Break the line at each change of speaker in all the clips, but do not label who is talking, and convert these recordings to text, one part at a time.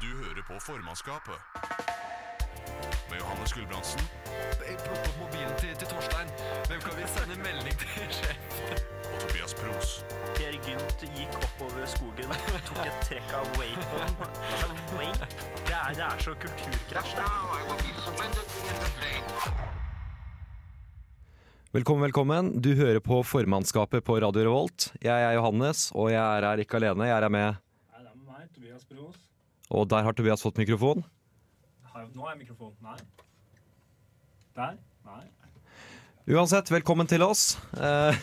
Du hører på formannskapet. Med Johannes Gulbrandsen
Plukk eh, opp mobilen til, til Torstein. Hvem kan vi sende melding til sjef?
og Tobias Pros.
Per Gynt gikk oppover skogen, tok et trekk av wapen. Altså, vape? Det er, det er så kulturkrasj. det.
Velkommen, velkommen. Du hører på formannskapet på Radio Revolt. Jeg er Johannes, og jeg er her ikke alene. Jeg er her med
Nei, det er meg, Tobias Bros.
Og der har Tobias fått mikrofon.
Har jeg, nå er mikrofonen. Nei. Der. Nei.
Uansett, velkommen til oss. Eh,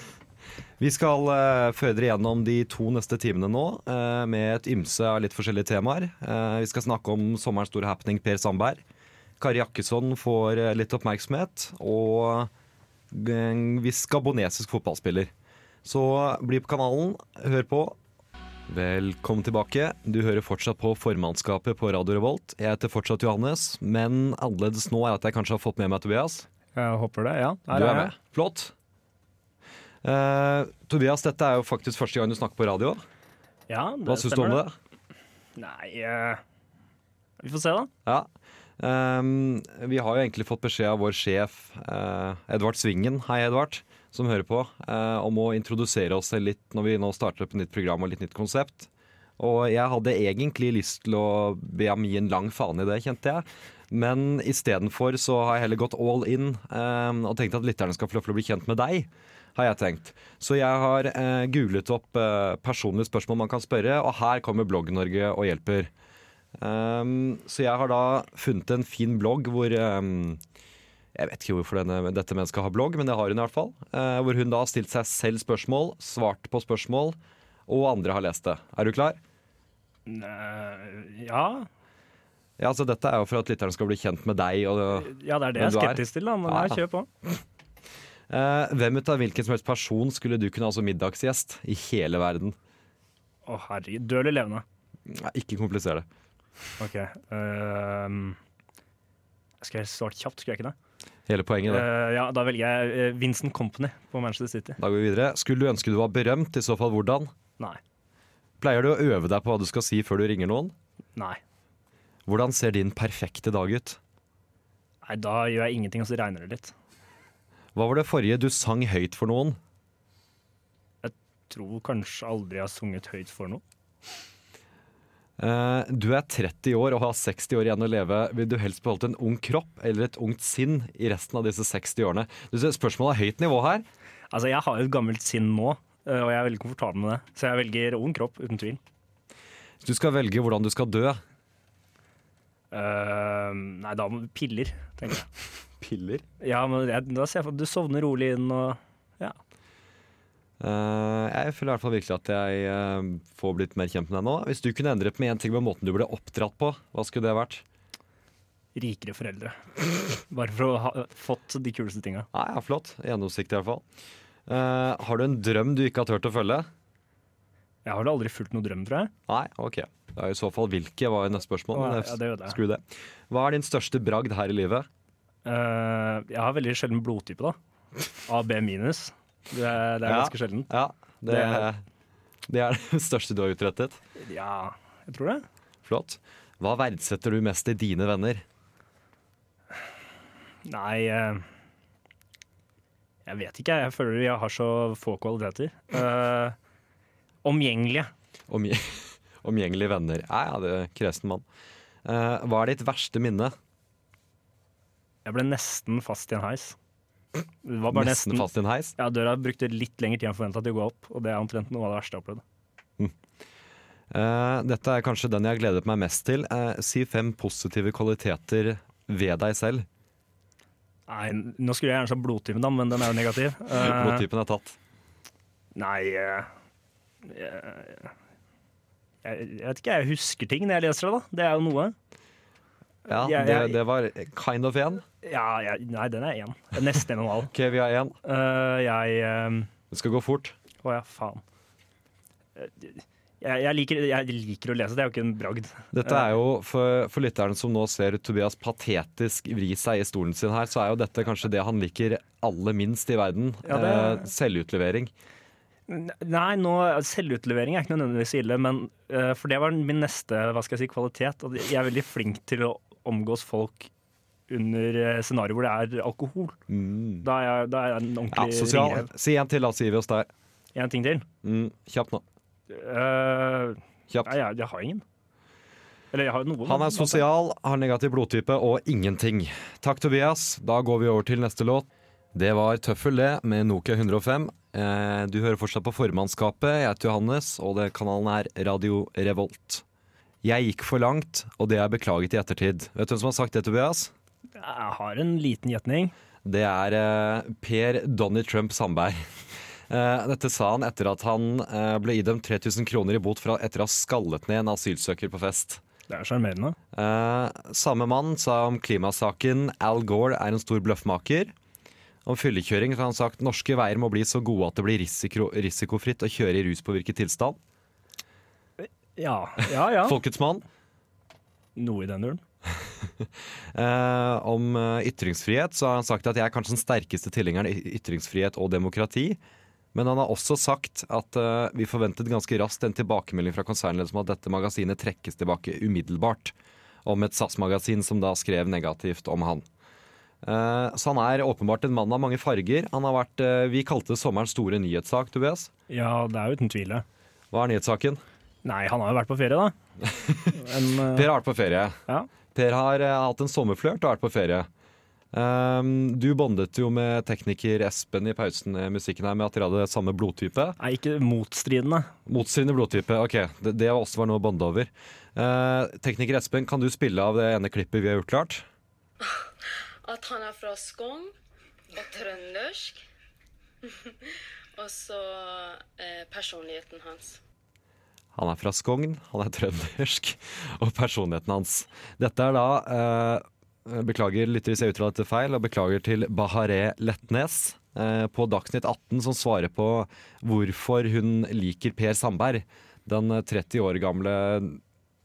vi skal eh, føre dere gjennom de to neste timene nå eh, med et ymse av litt forskjellige temaer. Eh, vi skal snakke om sommerens store happening Per Sandberg. Kari Jakkesson får eh, litt oppmerksomhet. Og eh, en viss gabonesisk fotballspiller. Så bli på kanalen, hør på. Velkommen tilbake. Du hører fortsatt på formannskapet på Radio Revolt. Jeg heter fortsatt Johannes, men annerledes nå er at jeg kanskje har fått med meg Tobias.
Jeg håper det, ja.
Du er med. Flott. Eh, Tobias, dette er jo faktisk første gang du snakker på radio.
Ja, det
Hva syns du om det?
Nei eh, Vi får se, da.
Ja. Ehm, vi har jo egentlig fått beskjed av vår sjef, eh, Edvard Svingen, hei Edvard, som hører på, eh, om å introdusere oss selv litt når vi nå starter opp et nytt program og litt nytt konsept. Og jeg hadde egentlig lyst til å be ham gi en lang faen i det, kjente jeg. Men istedenfor så har jeg heller gått all in ehm, og tenkt at lytterne skal få lov til å bli kjent med deg. Har jeg tenkt. Så jeg har eh, googlet opp eh, personlige spørsmål man kan spørre, og her kommer Blogg-Norge og hjelper. Um, så jeg har da funnet en fin blogg hvor um, Jeg vet ikke hvorfor denne, dette mennesket har blogg, men det har hun i hvert fall. eh, hvor hun da har stilt seg selv spørsmål, svart på spørsmål, og andre har lest det. Er du klar?
Eh, ja.
Ja, altså Dette er jo for at lytterne skal bli kjent med deg. Og,
ja, det er det jeg
Men
er
du er-
skeptisk til, da. Men
Ja.
jeg kjør på.
Eh, hvem ut av hvilken som helst person skulle du kunne ha som middagsgjest i hele verden?
Å, herregud. Død eller levende?
Nei, ikke kompliser det.
OK. ehm, skal jeg svare kjapt, skulle jeg ikke det?
Hele poenget, det.
Eh, ja, da velger jeg eh, Vincent Company på Manchester City.
Da går vi videre. Skulle du ønske du var berømt? I så fall hvordan?
Nei.
Pleier du å øve deg på hva du skal si før du ringer noen?
Nei.
Hvordan ser din perfekte dag ut?
Nei, Da gjør jeg ingenting, og så regner det litt.
Hva var det forrige du sang høyt for noen?
Tror kanskje aldri jeg har sunget høyt for noe.
Eh, du er 30 år og har 60 år igjen å leve. Vil du helst beholdt en ung kropp eller et ungt sinn i resten av disse 60 årene? Du ser, Spørsmålet er høyt nivå her.
Altså, jeg har jo et gammelt sinn nå, eh, og jeg er veldig komfortabel med det. Så jeg velger ung kropp, uten tvil.
Du skal velge hvordan du skal dø.
Eh, nei, da må piller, tenker jeg.
Piller?
Ja, men jeg, da ser jeg for at du sovner rolig inn og Ja.
Eh, jeg føler i hvert fall virkelig at jeg eh, får blitt mer kjent med deg nå. Hvis du kunne endret med én ting med måten du ble oppdratt på, hva skulle det vært?
Rikere foreldre. Bare for å ha fått de kuleste tinga.
Nei, ja, Flott. Gjennomsiktig i hvert fall. Eh, har du en drøm du ikke har turt å følge?
Jeg har vel aldri fulgt noen drøm, tror jeg.
Nei, ok. Det er i så fall hvilke, var jo neste spørsmål.
Å,
men
ja, ja,
det-
det gjør det.
Skru det. Hva er din største bragd her i livet?
Eh, jeg har veldig sjelden blodtype, da. AB minus. Det, er- det er
Ja.
ganske sjelden.
Ja, det, det, er... det største du har utrettet.
Ja, jeg tror det.
Flott. Hva verdsetter du mest i dine venner?
Nei eh, Jeg vet ikke, jeg føler jeg har så få kvaliteter. Eh, omgjengelige.
Omg omgjengelige venner. Ja, ja, det er kresen mann. Eh, hva er ditt verste minne?
Jeg ble nesten fast i en heis. Det var bare nesten,
Nesten fast i en heis.
Ja, Døra brukte litt lengre tid enn forventa til å gå opp, og det er omtrent noe av det verste jeg har opplevd.
Eh, dette er kanskje den jeg har gledet meg mest til. Eh, si fem positive kvaliteter ved deg selv.
Nei, Nå skulle jeg gjerne sagt blodtypen, da, men den er jo negativ. Eh,
Blodtypen er tatt.
nei eh, eh, jeg, jeg vet ikke, jeg husker ting når jeg leser det, da. Det er jo noe.
Ja,
jeg-
det,
jeg-
det var kind of én.
Ja, jeg, Nei, den er én. Nesten en og en halv.
OK, vi har én.
Eh, jeg eh,
Det skal gå fort.
Å ja, faen. Eh, Jeg, jeg, liker, jeg liker å lese, det er jo ikke en bragd.
Dette er jo for, for lytterne som nå ser Tobias patetisk vri seg i stolen sin her, så er jo dette kanskje det han liker aller minst i verden.
Ja, det-
eh, selvutlevering.
Nei, nå, selvutlevering er ikke nødvendigvis ille, men, eh, for det var min neste hva skal jeg si, kvalitet. At jeg er veldig flink til å omgås folk under eh, scenarioer hvor det er alkohol.
Mm.
Da er jeg, da er jeg en
Ja,
ordentlig
sosial.
ringrev.
Si en til, da, så gir vi oss der.
En ting til.
Mm. Kjapt nå.
Eh, nei,
Kjapt.
jeg, jeg har ingen. Eller jeg har noen. altså,
Han er sosial, har negativ blodtype og ingenting. Takk, Tobias. Da går vi over til neste låt. Det var Tøffel, det, med Nokia 105. Eh, Du hører fortsatt på formannskapet. Jeg heter Johannes, og det kanalen er Radio Revolt. Jeg gikk for langt, og det er beklaget i ettertid. Vet du hvem som har sagt det, Tobias?
Jeg har en liten gjetning.
Det er eh, Per Donny Trump Sandberg. Eh, dette sa han etter at han eh, ble idømt 3000 kroner i bot fra etter å ha skallet ned en asylsøker på fest.
Det er sjarmerende.
Eh, samme mann sa om klimasaken Al Gore er en stor bløffmaker. Om fyllekjøring så har han sagt norske veier må bli så gode at det blir risiko, risikofritt å kjøre i ruspåvirket tilstand.
Ja, ja. ja.
Folkets mann.
Noe i den duren.
Eh, om eh, ytringsfrihet så har han sagt at jeg er kanskje den sterkeste tilhengeren i ytringsfrihet og demokrati. Men han har også sagt at eh, vi forventet ganske raskt en tilbakemelding fra konsernledelsen om at dette magasinet trekkes tilbake umiddelbart. Om et SAS-magasin som da skrev negativt om han. Eh, så han er åpenbart en mann av mange farger. Han har vært, eh, Vi kalte det sommerens store nyhetssak, Tobias.
Ja, det er uten tvil det.
Hva er nyhetssaken?
Nei, han har jo vært på ferie, da. En, eh,
Per har vært på ferie.
ja.
Per har eh, hatt en sommerflørt og vært på ferie. Ehm, du bondet jo med tekniker Espen i pausen i musikken her med at dere hadde samme blodtype.
Nei, ikke motstridende.
Motstridende blodtype. Ok, det, det var også var noe å bonde over. Eh, tekniker Espen, kan du spille av det ene klippet vi har gjort klart?
At han er fra Skogn og trøndersk. og så eh, personligheten hans.
Han er fra Skogn, han er trøndersk, og personligheten hans. Dette er da eh, Beklager, lytter, hvis jeg uttaler dette feil, og beklager til Bahareh Letnes eh, på Dagsnytt 18, som svarer på hvorfor hun liker Per Sandberg, den 30 år gamle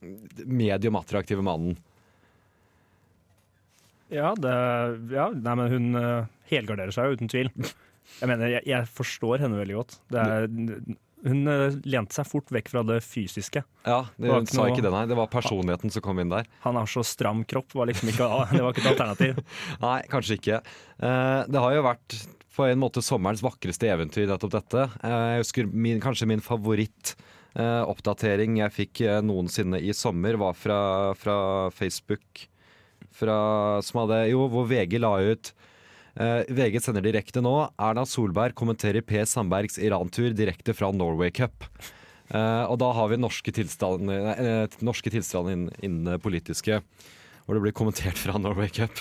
mm, medium attraktive mannen.
Ja, det, ja nei, men hun eh, helgarderer seg jo uten tvil. Jeg mener, jeg, jeg forstår henne veldig godt. Det er, hun eh, lente seg fort vekk fra det fysiske.
Ja, det,
var
hun
ikke
sa
noe-
ikke det, nei. Det var personligheten som kom inn der.
Han har så stram kropp, var liksom ikke, det var ikke et alternativ.
Nei, kanskje ikke. Eh, det har jo vært på en måte sommerens vakreste eventyr, nettopp dette. Eh, jeg husker min, kanskje min favorittoppdatering jeg fikk eh, noensinne i sommer, var fra, fra Facebook. Fra, som hadde, jo, hvor VG la ut eh, VG sender direkte nå. Erna Solberg kommenterer Per Sandbergs Iran-tur direkte fra Norway Cup. Eh, og da har vi norske tilstander, eh, norske tilstander innen, innen det politiske, hvor det blir kommentert fra Norway Cup.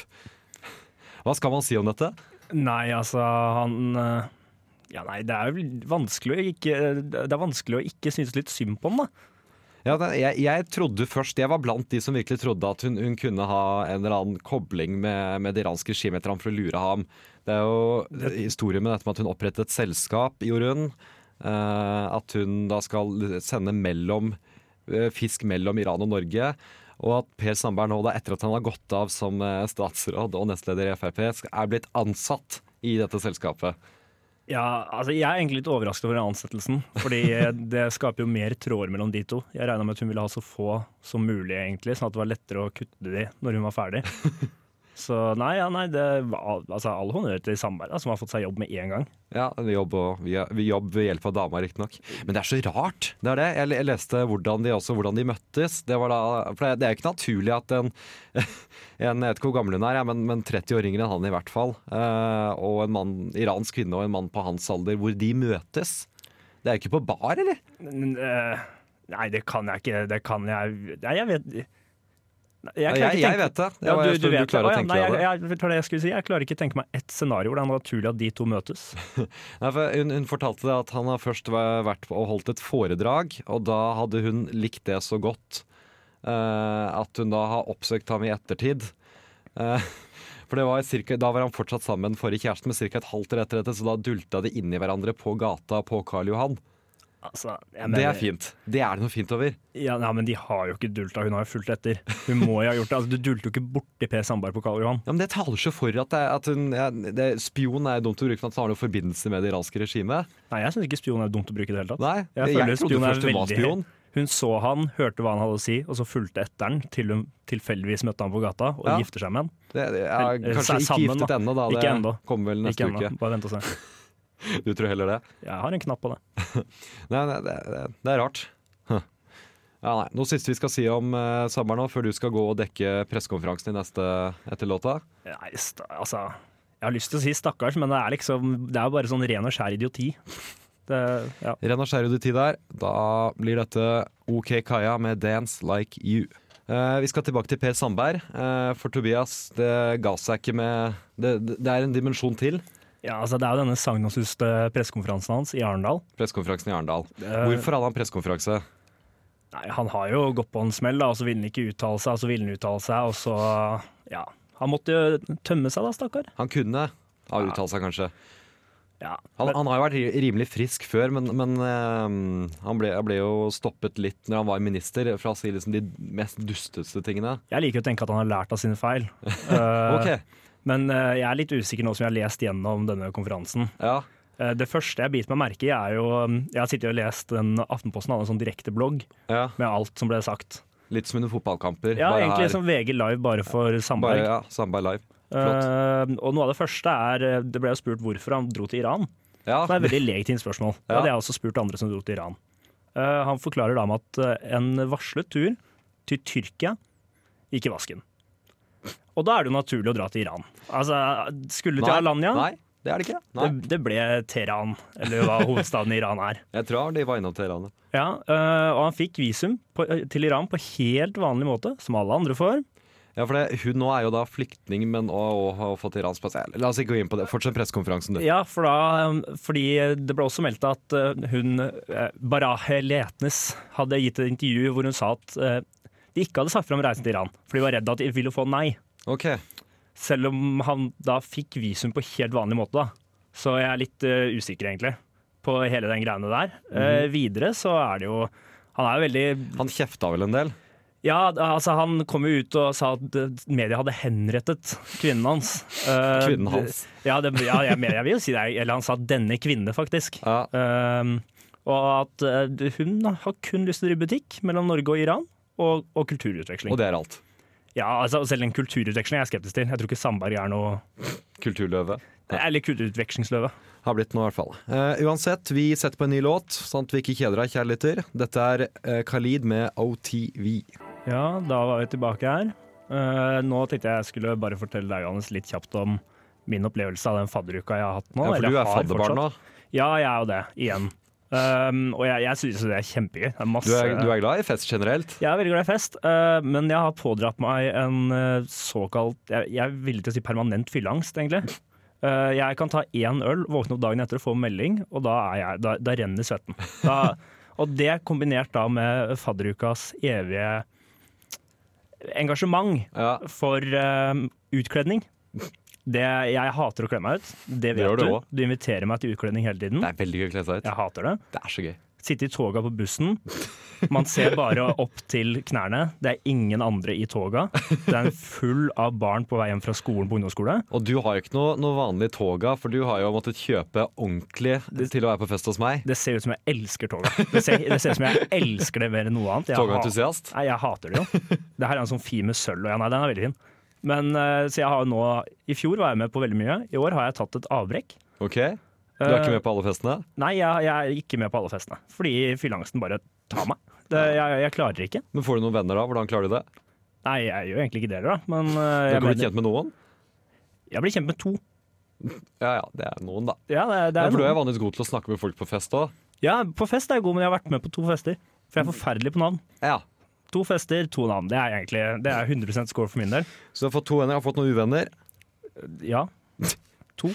Hva skal man si om dette?
Nei, altså, han eh, Ja, nei, det er jo vanskelig å ikke, det er vanskelig å ikke synes litt synd på ham, da.
Ja, det- jeg, jeg trodde først, jeg var blant de som virkelig trodde at hun, hun kunne ha en eller annen kobling med, med det iranske regimet etter ham for å lure ham. Det er jo historien med dette med at hun opprettet et selskap, gjorde hun. eh, at hun da skal sende mellom, eh, fisk mellom Iran og Norge. Og at Per Sandberg nå, da, etter at han har gått av som eh, statsråd og nestleder i Frp, sk- er blitt ansatt i dette selskapet.
Ja, altså, jeg er egentlig litt overrasket over den ansettelsen, fordi det skaper jo mer tråder mellom de to. Jeg regna med at hun ville ha så få som mulig, egentlig, sånn at det var lettere å kutte de når hun var ferdig. Så nei, ja, nei, det var altså, all honnør til Sandberg, da, som har fått seg jobb med en gang.
Ja, vi jobb, og, vi, vi jobb ved hjelp av dama, riktignok. Men det er så rart! Det er det. Jeg, jeg leste hvordan de, også, hvordan de møttes. Det, var da, for det, det er jo ikke naturlig at en, en Jeg vet ikke hvor gammel hun er, ja, men, men 30 år yngre enn han i hvert fall. eh, og en mann, iransk kvinne og en mann på hans alder, hvor de møtes. Det er jo ikke på bar, eller?
Men, eh, Nei, det kan jeg ikke. Det kan jeg Nei, jeg vet Nei, Jeg, klarer
Jeg,
ikke
jeg
tenke-
vet det. Jeg,
Ja,
bare spør om
vet
du klarer
det. Å,
å
ja,
tenke
nei,
deg det.
jeg, jeg, det var det jeg, skulle si. jeg klarer ikke tenke meg ett scenario hvor det er naturlig at de to møtes.
Nei, for hun, hun fortalte det at han har først væ- vært på- og holdt et foredrag, og da hadde hun likt det så godt eh, at hun da har oppsøkt ham i ettertid. Eh, for det var cirka, Da var han fortsatt sammen med den forrige kjæresten, men ca. et halvt år etter dette, så da dulta de inn i hverandre på gata på Karl Johan.
Altså, jeg
Det
mener-
er fint. Det er det noe fint over.
Ja, nei, men de har jo ikke dulta, hun har jo fulgt etter. Hun må jo ha gjort det. Altså, du dulter jo ikke borti Per Sandberg på Karl Johan.
Ja, men Det taler så for at, det, at hun, ja, det, spion er dumt å bruke for at han har noen forbindelse med det iranske regimet.
Nei, jeg syns ikke spion er dumt å bruke i det hele tatt.
Nei,
jeg,
jeg,
føler
trodde
spion er
først hun var
veldig-
spion.
Hun så han, hørte hva han hadde å si, og så fulgte etter han til hun tilfeldigvis møtte han på gata og
Ja.
gifter seg med han.
Det, det, ja,
Eller, eh,
kanskje
sa-
ikke
sammen, da.
giftet ennå, da.
Ikke
det
ennå.
kommer vel neste
Ikke ennå,
uke.
bare vent og se.
Du tror heller det?
Jeg har en knapp på det.
Nei, nei det, det, det er rart. Huh. Ja, nei. Noe siste vi skal si om uh, Samber nå, før du skal gå og dekke pressekonferansen i neste etter låta?
Nei, sta, altså Jeg har lyst til å si stakkars, men det er liksom Det er bare sånn ren og skjær idioti. Det, ja.
Ren og skjær idioti der. Da blir dette OK Kaja med 'Dance Like You'. Eh, vi skal tilbake til Per Sandberg. Eh, for Tobias, det ga seg ikke med Det, det det er en dimensjon til.
ja, altså Det er jo denne sagnomsuste pressekonferansen hans i Arendal.
Pressekonferansen i Arendal.
Eh,
Hvorfor hadde han pressekonferanse?
Nei, Han har jo gått på en smell, da, og så ville han ikke uttale seg, og så ville han uttale seg, og så Ja. Han måtte jo tømme seg, da, stakkar.
Han kunne ha uttalt seg, kanskje.
Ja.
Han, han har jo vært ri- rimelig frisk før, men, men eh, han ble, ble jo stoppet litt når han var minister, fra å si liksom de mest dusteste tingene.
Jeg liker å tenke at han har lært av sine feil. Eh,
Ok,
Men eh, jeg er litt usikker nå som jeg har lest gjennom denne konferansen.
ja.
Eh, Det første jeg biter meg merke i, er jo um, Jeg har sittet og lest den Aftenposten hadde en sånn direkteblogg
ja.
med alt som ble sagt.
Litt som under fotballkamper.
Ja,
bare
egentlig
her.
som VG Live bare for
Bare,
Sandberg.
ja, Sandberg live. Flott.
Eh, og noe av det første er eh, Det ble jo spurt hvorfor han dro til Iran.
Ja,
Det er et veldig legitimt spørsmål. Det
Ah. Ja.
hadde jeg også spurt andre som dro til Iran. Eh, han forklarer da med at eh, en varslet tur til Tyrkia gikk i vasken. Og da er det jo naturlig å dra til Iran. Altså, skulle til Alanya.
Nei, det er det ikke. Nei.
Det, det ble Teheran, eller hva hovedstaden i Iran er.
Jeg tror de var innom Teheran.
Ja, øh, og han fikk visum på, eh, til Iran på helt vanlig måte, som alle andre får.
Ja, for det, hun nå er jo da flyktning, men og, og har fått iransk pass. Eh, La oss ikke gå inn på det. Fortsett pressekonferansen, du.
Ja, for da, øh, fordi det ble også meldt at øh, hun, øh, Barahe Letnes, hadde gitt et intervju hvor hun sa at øh, de ikke hadde sagt fram reisen til Iran, for de var redd at de ville få nei.
Ok,
Selv om han da fikk visum på helt vanlig måte, da. Så jeg er litt eh, usikker, egentlig, på hele den greiene der. Eh, videre så er det jo Han er jo veldig
Han kjefta vel en del?
Ja, altså han kom jo ut og sa at eh, media hadde henrettet kvinnen hans. Eh,
Kvinnen hans.
det- Ja, det, ja jeg, mener- jeg vil jo si det. Eller han sa 'denne kvinne', faktisk.
Ja.
Eh, og at eh, hun har kun lyst til å drive butikk mellom Norge og Iran, og, og kulturutveksling.
Og det er alt.
Ja, altså Selv en kulturutveksling er jeg skeptisk til. Jeg tror ikke Sandberg er noe
Kulturløve.
Eller kulturutvekslingsløve.
Har blitt noe, i hvert fall. Eh, uansett, vi setter på en ny låt, sånn at vi ikke kjeder deg, kjære lytter. Dette er eh, Khalid med OTV.
Ja, da var vi tilbake her. Eh, nå tenkte jeg jeg skulle bare fortelle deg, Johannes, litt kjapt om min opplevelse av den fadderuka jeg har hatt nå.
Ja, for
eller
du er
har
fadderbarn
fortsatt.
nå.
Ja, jeg er jo det, igjen. Um, og jeg, jeg synes jo det er kjempegøy. Det er
Du
masse,
er, du er glad i fest generelt.
Jeg er veldig glad i fest, uh, men jeg har pådratt meg en uh, såkalt jeg, jeg er villig til å si permanent fylleangst, egentlig. Uh, jeg kan ta én øl, våkne opp dagen etter og få melding, og da, er jeg, da, da renner svetten. Da, og det kombinert da med fadderukas evige engasjement
Ja,
for eh, utkledning. Det, jeg hater å kle meg ut. Det
gjør
vet
du
du.
også.
Du inviterer meg til utkledning hele tiden.
det er veldig gøy å kle seg ut.
Jeg hater det.
Det er så gøy.
Sitte i toga på bussen. Man ser bare opp til knærne. Det er ingen andre i toga. Det er full av barn på vei hjem fra skolen på ungdomsskole.
Og du har jo ikke noe, noe vanlig toga, for du har jo måttet kjøpe ordentlig til å være på fest hos meg.
Det ser ut som jeg elsker toga. Det ser, det ser ut som jeg elsker det mer enn noe annet. Jeg hat-
Togentusiast.
Nei, jeg hater det jo. Det her er en sånn fin med sølv, og ja, nei, den er veldig fin. Men eh, så jeg har jo nå I fjor var jeg med på veldig mye. I år har jeg tatt et avbrekk.
Ok, du er ikke med på alle festene?
Nei, jeg, jeg er ikke med på alle festene. Fordi fylleangsten bare tar meg. Det, jeg, jeg klarer ikke.
Men får du noen venner da? Hvordan klarer du det?
Nei, jeg gjør egentlig ikke det, da. Men øh,
Du
jeg,
kan bli
mener,
kjent med noen?
jeg blir kjent med to.
Ja ja, det er noen, da.
Ja, det, det
Ja,
er
for du er
noen.
vanligvis god til å snakke med folk på fest òg.
ja, på fest er jeg god, men jeg har vært med på to fester. For jeg er forferdelig på navn.
Ja.
To fester, to navn. Det er egentlig det er 100 score for min del.
Så du har fått to venner, jeg har fått noen uvenner.
Ja. To.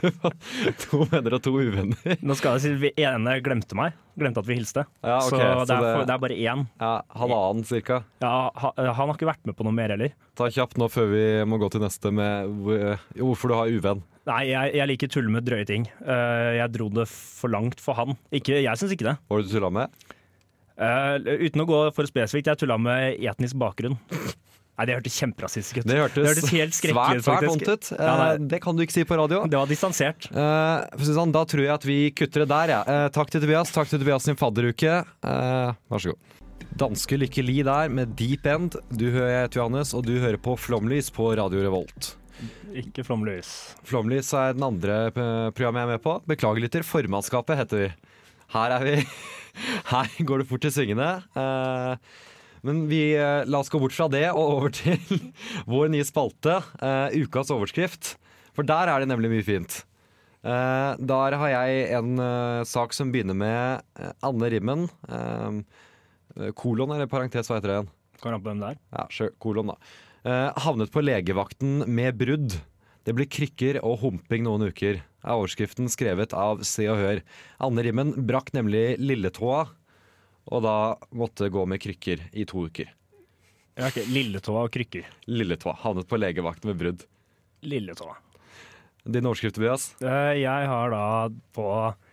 Det var to venner og to uvenner.
Nå skal jeg si vi ene glemte meg. Glemte at vi hilste.
Ja, ok,
så det
så
er, for,
det-
det er bare én.
Ja, Halvannen cirka.
Ja, ha, eh, han har ikke vært med på noe mer heller.
Ta kjapt nå før vi må gå til neste med hvor- jo, hvorfor du har uvenn.
Nei, jeg, jeg liker tull med drøye ting. Eh, jeg dro det for langt for han. Ikke, jeg syns ikke det.
Hva var det du tulla med?
Eh, uten å gå for spesifikt, jeg tulla med etnisk bakgrunn. Nei, det hørtes kjemperasistisk ut.
Det hørtes,
helt skrekkelig
svært,
ut,
svært
faktisk.
vondt ut.
Ja,
Eh,
nei.
Det kan du ikke si på radio.
Det var distansert.
Eh, for å si det sånn, da tror jeg at vi kutter det der. Ja. Eh, takk til Tobias. Takk til Tobias sin fadderuke. Eh, vær så god. Danske Lykke Li der med Deep End. Du hører jeg heter Johannes, og du hører på Flomlys på Radio Revolt.
Ikke flomløs.
Flomlys er den andre eh, programmet jeg er med på. Beklager lytter, formannskapet heter vi. Her er vi. Her går det fort i svingene. Eh, Men vi, eh, la oss gå bort fra det og over til vår nye spalte, eh, ukas overskrift. For der er det nemlig mye fint. Eh, Der har jeg en eh, sak som begynner med eh, Anne Rimmen. eh, Kolon, eller parentes, hva heter det igjen?
Kan rappe hvem det er.
Ja, sjø- kolon da. Eh, havnet på legevakten med brudd. Det blir krykker og humping noen uker, er overskriften skrevet av Se og Hør. Anne Rimmen brakk nemlig lilletåa, og da måtte gå med krykker i to uker.
Ja, ok, Lilletåa og krykker.
Lilletåa havnet på legevakten med brudd.
Lilletåa.
Din overskrift, Tobias?
Eh, Jeg har da på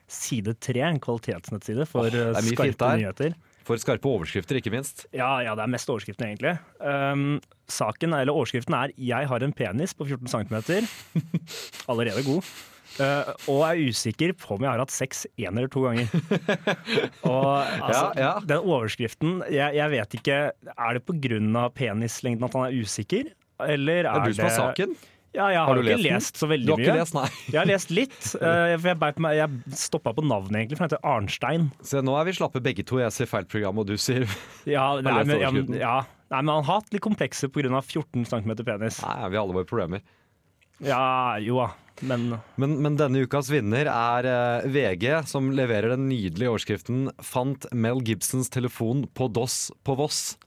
side tre en kvalitetsnettside for eh,
det er mye fint
skarpe
der.
nyheter.
For skarpe overskrifter, ikke minst.
Ja, ja, det er mest overskriften, egentlig. Ehm, saken, eller Overskriften er 'Jeg har en penis på 14 cm'. Allerede god. Eh, og er usikker på om jeg har hatt sex én eller to ganger. Og altså,
Ja, ja.
Den overskriften jeg, jeg vet ikke Er det pga. penislengden at han er usiker? Eller er
Det er
det
du som har saken.
Ja, jeg har,
Har du
jo ikke
lest den?
lest så veldig
Du har
mye.
ikke lest, nei.
Jeg har lest litt. eh, for Jeg, beit meg- jeg stoppa på navnet, egentlig, for han heter Arnstein.
Se, nå er vi slappe begge to. Jeg sier feil program, og du sier
Ja, nei,
lest
men, ja,
overskriften?
men- ja. Nei, men han har hatt litt komplekser pga. 14 cm penis.
Nei, vi har alle våre problemer.
Ja, jo da, men
Men, men denne ukas vinner er eh, VG, som leverer den nydelige overskriften 'Fant Mel Gibsons telefon på DOS på Voss'.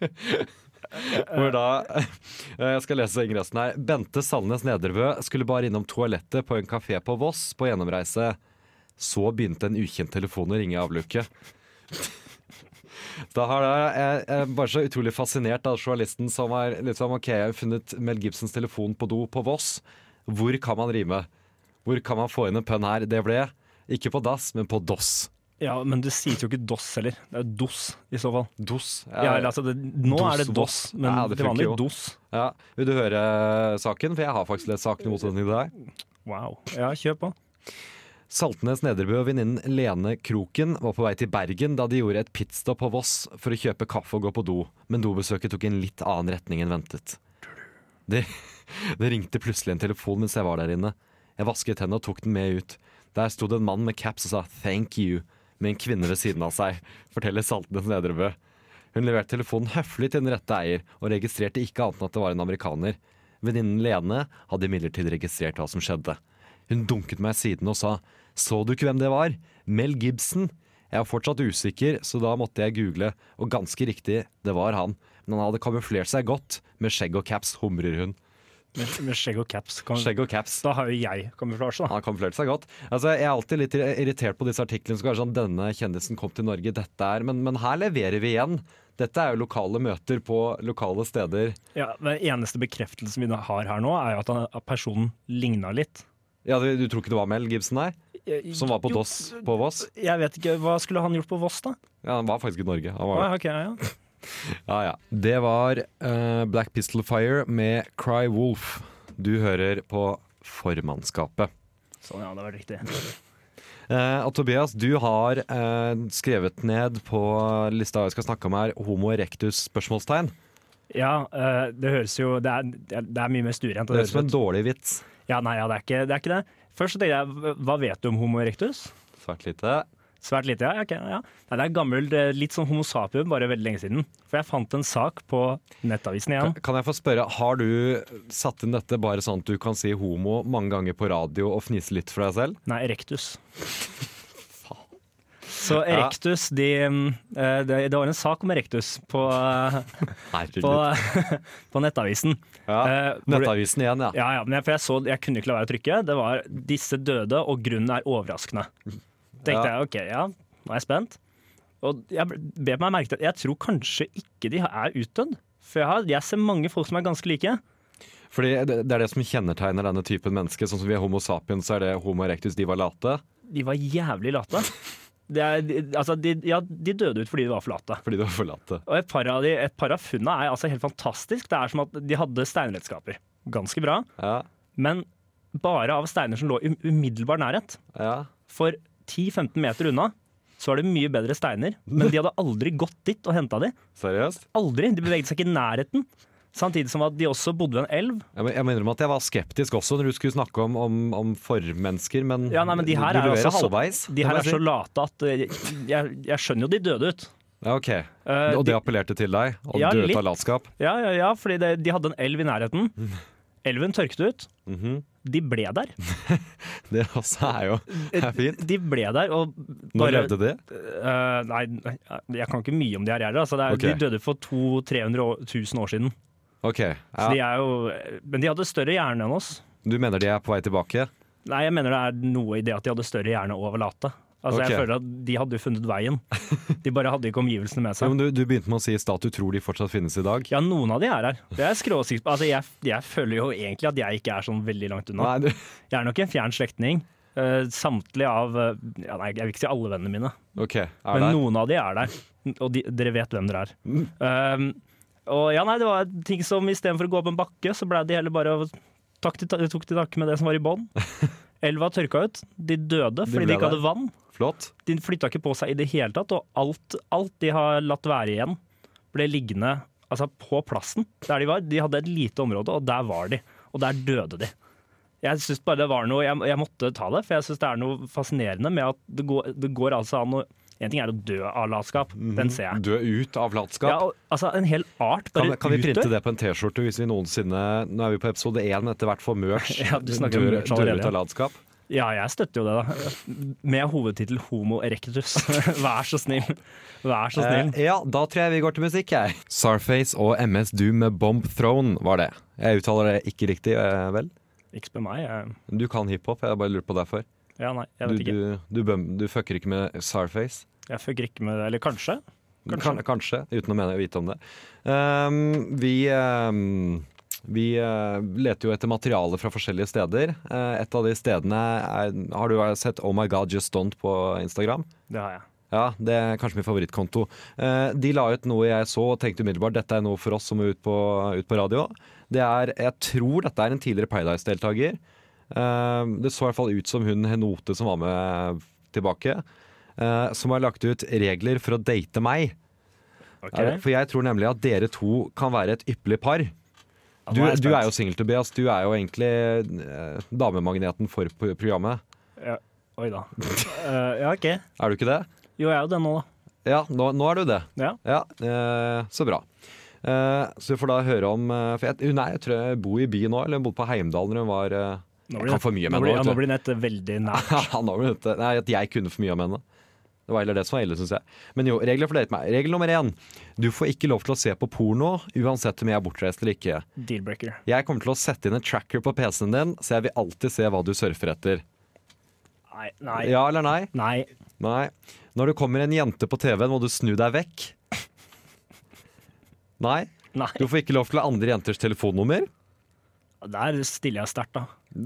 Hvor da eh, Jeg skal lese ingressen her. Bente Sandnes Nedrebø skulle bare innom toalettet på en kafé på Voss på gjennomreise. Så begynte en ukjent telefon å ringe i avluket. Da har jeg, jeg, jeg er bare så utrolig fascinert av journalisten som har liksom, ok, jeg har funnet Mel Gibsons telefon på do på Voss. Hvor kan man rime? Hvor kan man få inn en pønn her? Det ble ikke på dass, men på doss.
ja, men du sier jo ikke DOS heller. Det er DOS i så fall.
Dos.
Ja, eller, altså, det, nå
DOS,
er det DOS,
DOS.
men
Ja, det
det til vanlig
funker jo.
DOS.
Ja. Vil du høre saken? For jeg har faktisk lest saken i motsetning til deg.
Wow. Ja, kjør på.
Saltnes Nedrebø og venninnen Lene Kroken var på vei til Bergen da de gjorde et pitstop på Voss for å kjøpe kaffe og gå på do, men dobesøket tok en litt annen retning enn ventet. Det, det ringte plutselig en telefon mens jeg var der inne. Jeg vasket hendene og tok den med ut. Der sto det en mann med caps og sa 'thank you' med en kvinne ved siden av seg, forteller Saltnes Nedrebø. Hun leverte telefonen høflig til den rette eier, og registrerte ikke annet enn at det var en amerikaner. Venninnen Lene hadde imidlertid registrert hva som skjedde. Hun dunket meg i siden og sa Så du ikke hvem det var? Mel Gibson? Jeg var fortsatt usikker, så da måtte jeg google, og ganske riktig, det var han. Men han hadde kamuflert seg godt, med skjegg og caps, humrer hun.
Med, med skjegg og caps. Kan,
Skjegg og caps.
Da har jo jeg kamuflasje, da.
Han kamuflerte seg godt. Altså, jeg er alltid litt irritert på disse artiklene som er sånn 'Denne kjendisen kom til Norge, dette er' men, men her leverer vi igjen. Dette er jo lokale møter på lokale steder.
Ja, den eneste bekreftelsen vi da har her nå, er jo at, han, at personen ligna litt.
Ja, du, du tror ikke det var Mel Gibson, nei? Som var på
Jo,
DOS på Voss?
Jeg vet ikke, Hva skulle han gjort på Voss, da?
Ja, han var faktisk i Norge. Han
Å,
var det.
ja, ok, ja, ja.
Ja, ja. Det var eh, Black Pistol Fire med Cry Wolf. Du hører på formannskapet.
Sånn, ja, det var riktig.
Eh, og Tobias, du har eh, skrevet ned på lista jeg skal snakke om her, homo erectus spørsmålstegn.
Ja, eh, det høres jo Det er, det er mye mer stuerent. og
Det høres ut som en
ut-
dårlig vits.
Ja, nei, ja, det, er ikke, det er ikke det. Først så tenkte jeg, hva vet du om homo erectus?
Svært lite.
Svært lite, ja. ok, ja. Nei, det er gammel, det er litt sånn homo sapien, bare veldig lenge siden. For jeg fant en sak på nettavisen igjen.
Kan jeg få spørre, har du satt inn dette bare sånn at du kan si homo mange ganger på radio og fnise litt for deg selv?
Nei, erectus. Så Erectus, de, eh, det, det var en sak om Erectus på, eh, på,
Herregud.
på Nettavisen.
Ja.
Eh, hvor det-
Nettavisen igjen, ja.
Ja, ja, men jeg, for jeg, så, jeg kunne ikke la være å trykke. Det var 'disse døde, og grunnen er overraskende'. Tenkte
Ja.
jeg, ok, ja, nå er jeg spent. Og jeg ble- bet meg merke til at jeg tror kanskje ikke de er utdødd. For jeg, har, jeg ser mange folk som er ganske like.
Fordi det, det er det som kjennetegner denne typen mennesker. Sånn som vi er homo sapiens, så er det homo erectus de var late.
De var jævlig late. Det er, de- altså, de, ja, de døde ut fordi de var for late.
Fordi de var for late.
Og et par av, de, et par av funna er altså helt fantastisk. Det er som at de hadde steinredskaper. Ganske bra.
Ja,
Men bare av steiner som lå i umiddelbar nærhet.
ja.
For 10-15 meter unna så var det mye bedre steiner, men de hadde aldri gått dit og henta de.
Seriøst?
Aldri. De beveget seg ikke i nærheten. Samtidig som at de også bodde ved en elv.
Jeg må, jeg må innrømme at jeg var skeptisk også når du skulle snakke om, om, om formennesker, men,
Ja, nei, men De her
du
er,
leverer
altså halv-
halvveis.
de her
må
er så
jeg si.
late at eh, jeg, jeg skjønner jo de døde ut.
Ja, ok.
Eh, de-
Og det appellerte til deg? Og
Ja,
døde
litt.
av latskap?
Ja, ja, ja fordi det, de hadde en elv i nærheten. Elven tørket ut.
Mhm.
De ble der.
Det også er jo er fint.
De ble der og
Når levde de?
Eh, nei, jeg kan ikke mye om de her heller. Altså, det er,
Ok.
De døde for 200 000-300 000 år siden.
Ok,
Så de
ja.
er jo, men de hadde større hjerne enn oss.
Du mener de er på vei tilbake?
Nei, jeg mener det er noe i det at de hadde større hjerne over late. Altså,
Ok.
Jeg føler at de hadde jo funnet veien. De bare hadde ikke omgivelsene med
Jo,
seg.
men du, du begynte med å si i stad at du tror de fortsatt finnes i dag.
Ja, noen av de er her. Det er jeg skråsikker på. Altså, jeg, jeg føler jo egentlig at jeg ikke er sånn veldig langt unna.
Nei, du,
Jeg er nok en fjern slektning. Eh, samtlige av eh, ja, Nei, jeg vil ikke si alle vennene mine,
ok, er
men
det?
noen av de er der. Og de, dere vet hvem dere er. Um, og ja, nei, det var ting som istedenfor å gå opp en bakke, så ble de heller bare å- takk til, ta- tok til takke med det som var i bånn. Elva tørka ut. De døde fordi de,
ble
ikke
der.
hadde vann.
Flott.
De flytta ikke på seg i det hele tatt, og alt, alt de har latt være igjen, ble liggende altså, på plassen der de var. De hadde et lite område, og der var de. Og der døde de. Jeg synes bare det var noe, jeg, jeg måtte ta det, for jeg syns det er noe fascinerende med at det går, det går altså an å En ting er å dø av latskap, den ser jeg.
Dø ut av latskap.
Ja, og, altså, en hel art bare
Mhm. Kan, kan vi printe
utdør.
det på en T-skjorte hvis vi noensinne Nå er vi på episode én, etter hvert får merch.
Ja, du snakker om
Dør-
merch
dør
allerede,
ut av latskap.
Ja, jeg støtter jo det, da. Med hovedtittel Homo erectus. Vær så snill. Vær så snill.
Eh, ja, da tror jeg vi går til musikk, jeg. Sarface og MS Doom med Bomb Throne var det. Jeg uttaler det ikke riktig, eh, vel?
Ikke spør meg. Jeg,
Du kan hiphop, jeg bare lurer på derfor.
ja, nei, jeg
Du,
vet ikke.
du, du, bøm, du fucker ikke med Sarface?
Jeg fucker ikke med det, eller kanskje.
Kanskje, kanskje uten å mene, vite om det. Ehm, vi ehm, vi eh, leter jo etter materiale fra forskjellige steder. Eh, et av de stedene er, Har du sett Oh My God Just Don't på Instagram?
Det har jeg.
Ja, det er kanskje min favorittkonto. Eh, de la ut noe jeg så og tenkte umiddelbart dette er noe for oss som må ut på, ut på radio. Det er, Jeg tror dette er en tidligere Paradise-deltaker. Eh, det så i hvert fall ut som hun Henote som var med tilbake. eh, som har lagt ut regler for å date meg.
Ok.
Er det- For jeg tror nemlig at dere to kan være et ypperlig par.
Ja, nå
Du,
er jeg
du er
spent.
jo singel, Tobias. Du er jo egentlig eh, damemagneten for p- programmet.
ja. Oi da. Eh, ja, OK.
Er du ikke det?
Jo, jeg er jo det nå, da.
Ja, nå, nå er du det.
Ja.
Ja, eh, så bra. Eh, så vi får da høre om eh, for jeg, Hun er, jeg tror jeg bor i by nå, eller hun bodde på Heimdal når hun var eh,
Nå
Jeg kan for mye
nå
med
blir,
nå,
ja,
vet
nå
du.
blir nettet veldig nært.
Ja, nå ble det Nei, at jeg kunne for mye om henne. Det var heller det som var ille, syns jeg. Men jo, regler for date meg. Regel nummer én. Du får ikke lov til å se på porno uansett om jeg er bortreist eller ikke.
Dealbreaker.
Jeg kommer til å sette inn en tracker på PC-en din, så jeg vil alltid se hva du surfer etter.
Nei. Nei.
Ja eller nei?
nei.
Nei. Når det kommer en jente på TV-en, må du snu deg vekk. Nei.
Nei.
Du får ikke lov til å ha andre jenters telefonnummer,
Der stiller jeg sterkt, da.